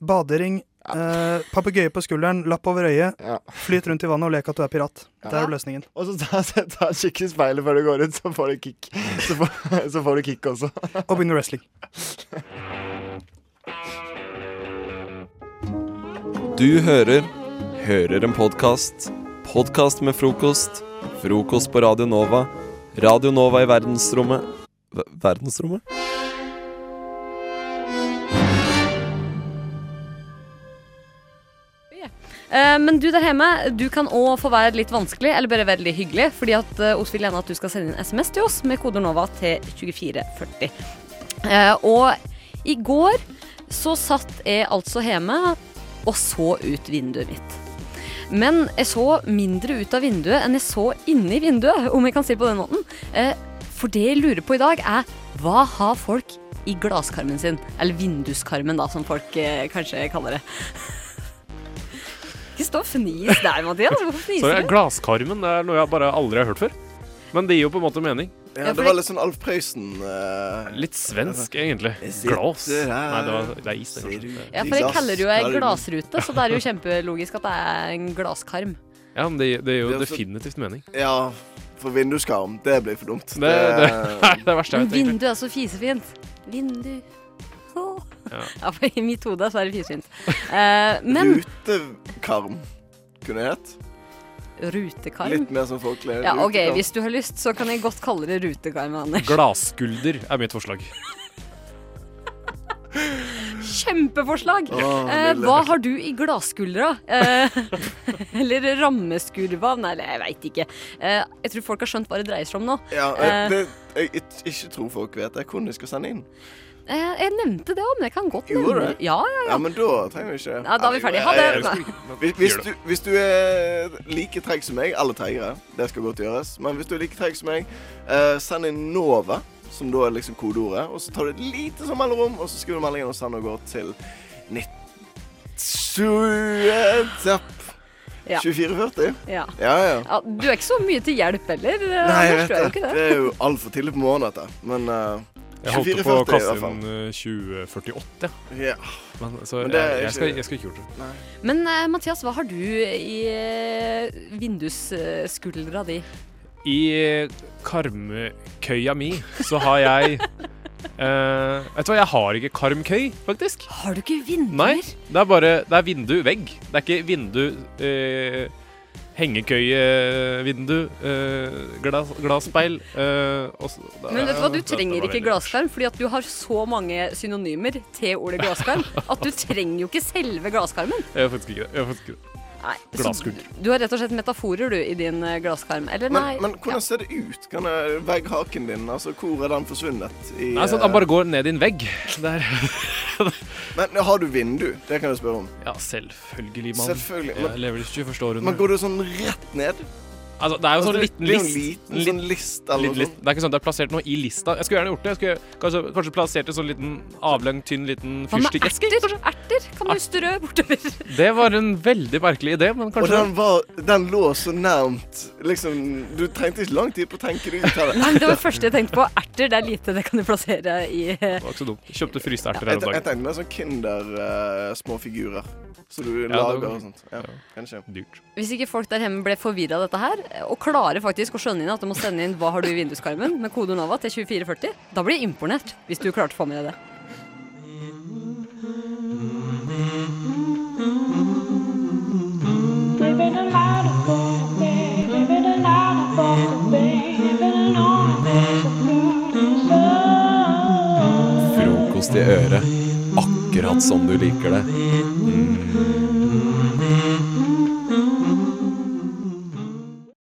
Speaker 19: Badering, eh, papegøye på skulderen, lapp over øyet. Flyt rundt i vannet og lek at du er pirat. Det er jo løsningen.
Speaker 20: Og så ta, ta en kikk i speilet før du går ut, så får du kick. Så får, så får du kick også.
Speaker 19: Og begynne wrestling.
Speaker 1: Du hører Hører en podkast. Podkast med frokost. Frokost på Radio Nova. Radio Nova i verdensrommet Ver- Verdensrommet?
Speaker 3: Eh, men du der hjemme, du kan òg få være litt vanskelig, eller bare veldig hyggelig. Fordi at eh, Oss vil gjerne at du skal sende inn SMS til oss med koder NOVA til 2440. Eh, og i går så satt jeg altså hjemme og så ut vinduet mitt. Men jeg så mindre ut av vinduet enn jeg så inni vinduet, om jeg kan si det på den måten. Eh, for det jeg lurer på i dag, er hva har folk i glasskarmen sin? Eller vinduskarmen, da, som folk eh, kanskje kaller det. Ikke stå og fnis der, Mathias. Hvorfor
Speaker 2: Så
Speaker 3: fniser du?
Speaker 2: Glasskarmen det er noe jeg bare aldri har hørt før. Men det gir jo på en måte mening.
Speaker 4: Ja, det var litt sånn Alf Prøysen eh,
Speaker 2: Litt svensk, egentlig.
Speaker 4: Jeg sitter
Speaker 2: Glass.
Speaker 4: her,
Speaker 2: Nei, det, var, det er is, det, kanskje.
Speaker 3: Ja, for jeg kaller det jo ei glassrute, så det er jo kjempelogisk at det er en glasskarm.
Speaker 2: Ja, men det, det gir jo
Speaker 4: Det er også-
Speaker 2: definitivt mening.
Speaker 4: Ja, for vinduskarm. Det blir for dumt.
Speaker 2: Det, det, det er det
Speaker 3: Men
Speaker 2: verste jeg vet. egentlig.
Speaker 3: vindu er så fisefint. Vindu Åh.
Speaker 2: Ja.
Speaker 3: Ja, for i mitt hode så er det fisefint. Eh, men
Speaker 4: Rutekarm kunne det hett.
Speaker 3: Rutekarm?
Speaker 4: Litt mer som folkelig.
Speaker 3: Ja, OK,
Speaker 4: rutekarm.
Speaker 3: hvis du har lyst, så kan jeg godt kalle det rutekarm, Anders.
Speaker 2: Glasskulder er mitt forslag.
Speaker 3: Kjempeforslag!
Speaker 2: Åh,
Speaker 3: Eh,
Speaker 2: nydelig.
Speaker 3: hva har du i glasskuldra? Eh, eller rammeskurva? Nei, eller jeg veit ikke. Eh, jeg tror folk har skjønt hva det dreier seg om nå.
Speaker 4: Ja,
Speaker 3: Eh,
Speaker 4: jeg, det, jeg, jeg, ikke tror folk vet det. Hvor de skal sende inn.
Speaker 3: eh, jeg nevnte det òg, men jeg kan godt
Speaker 4: Gjorde du
Speaker 3: nevne
Speaker 4: det?
Speaker 3: det. Ja, ja, ja.
Speaker 4: Ja, men da trenger vi ikke
Speaker 3: Ja, da er vi ferdige. Ha
Speaker 4: Eller,
Speaker 3: det.
Speaker 4: jeg- Hvis, hvis, du, hvis du er like treg som meg Alle tregere, det skal godt gjøres. Men hvis du er like treg som meg, eh, send inn NOVA, som da er liksom kodeordet. Og så tar du et lite sånn mellomrom, og så skriver du meldingen og sender og går til 19...
Speaker 3: Ja.
Speaker 4: 2440.
Speaker 3: Ja.
Speaker 4: Ja, ja.
Speaker 3: Ja, du er ikke så mye til hjelp heller. eh,
Speaker 4: Nei, jeg
Speaker 3: Anders,
Speaker 4: vet
Speaker 3: du er jo
Speaker 4: det.
Speaker 3: ikke det.
Speaker 4: Det er jo altfor tidlig på morgenen, dette. Men eh,
Speaker 2: Jeg holdt på å
Speaker 4: 24.40 i hvert
Speaker 2: kaste
Speaker 4: fall.
Speaker 2: inn eh, 2048.
Speaker 4: Ja.
Speaker 2: Men, så eh,
Speaker 4: Men
Speaker 2: jeg,
Speaker 4: det er
Speaker 2: jeg, skal,
Speaker 4: ikke-
Speaker 2: jeg skal ikke gjort det.
Speaker 3: Men eh, Mathias, hva har du i eh, vindusskuldra di?
Speaker 2: I karmkøya mi så har jeg eh, Vet du hva, jeg har ikke karmkøy, faktisk.
Speaker 3: Har du ikke vinduer?
Speaker 2: Nei, det er bare Det er vindu-vegg. Det er ikke vindu eh, Hengekøye, vindu, eh, glass, glasspeil eh, og så-
Speaker 3: Men vet du hva, du
Speaker 2: Det- det
Speaker 3: trenger
Speaker 2: var
Speaker 3: ikke
Speaker 2: veldig-
Speaker 3: glasskarm, fordi at du har så mange synonymer til ordet glasskarm at du trenger jo ikke selve glasskarmen.
Speaker 2: Jeg gjør faktisk ikke det. Jeg gjør faktisk ikke det.
Speaker 3: Nei, så
Speaker 2: Glasskulder.
Speaker 3: Du har rett og slett metaforer, du, i din eh, glasskarm. Eller nei.
Speaker 4: Men, men hvordan ser det ut? Kan jeg vegge haken din? Altså, hvor er den forsvunnet? I,
Speaker 2: Nei, sånn, at
Speaker 4: eh,
Speaker 2: han bare går ned i en vegg. Der.
Speaker 4: Men har du vindu? Det kan jeg spørre om.
Speaker 2: Ja, selvfølgelig, mann.
Speaker 4: Selvfølgelig, men-
Speaker 2: Jeg lever i 21. århundre.
Speaker 4: Men går du sånn rett ned?
Speaker 2: Altså, det er jo en
Speaker 4: Altså,
Speaker 2: sånn
Speaker 4: det-
Speaker 2: liten
Speaker 4: det er jo en
Speaker 2: list.
Speaker 4: liten sånn list, eller noe
Speaker 2: list. Det er ikke sånn at det er plassert noe i lista. Jeg skulle gjerne gjort det. Jeg skulle kanskje, kanskje plassert en sånn liten avlang, tynn liten
Speaker 3: Hva med
Speaker 2: fyrstikkeske.
Speaker 3: erter? Erter kan du strø bortover.
Speaker 2: Det var en veldig merkelig idé, men
Speaker 4: Og
Speaker 2: kanskje
Speaker 4: den, var, den lå så nærmt. Liksom, du trengte ikke lang tid på å tenke deg ut av
Speaker 3: Nei, men det var det
Speaker 4: det.
Speaker 3: første jeg tenkte på. Erter, det er lite det kan du plassere i eh,
Speaker 2: var ikke så dumt. Kjøpte fryste erter
Speaker 4: Jeg,
Speaker 2: her om
Speaker 4: te-
Speaker 2: dagen.
Speaker 4: jeg tenkte mer sånn Kinder-små figurer. Så du
Speaker 2: det
Speaker 4: lager
Speaker 2: var-
Speaker 4: og sånt. Ja, kanskje.
Speaker 2: Dyrt.
Speaker 3: Hvis ikke folk der hjemme ble forvirra av dette her, eh, og klarer faktisk å skjønne inn at de må sende inn 'Hva har du i vinduskarmen?' med kode NOVA til 2440, da blir jeg imponert. Hvis du klarte å få med deg det.
Speaker 1: Frokost i øret, akkurat som du liker det. Mm.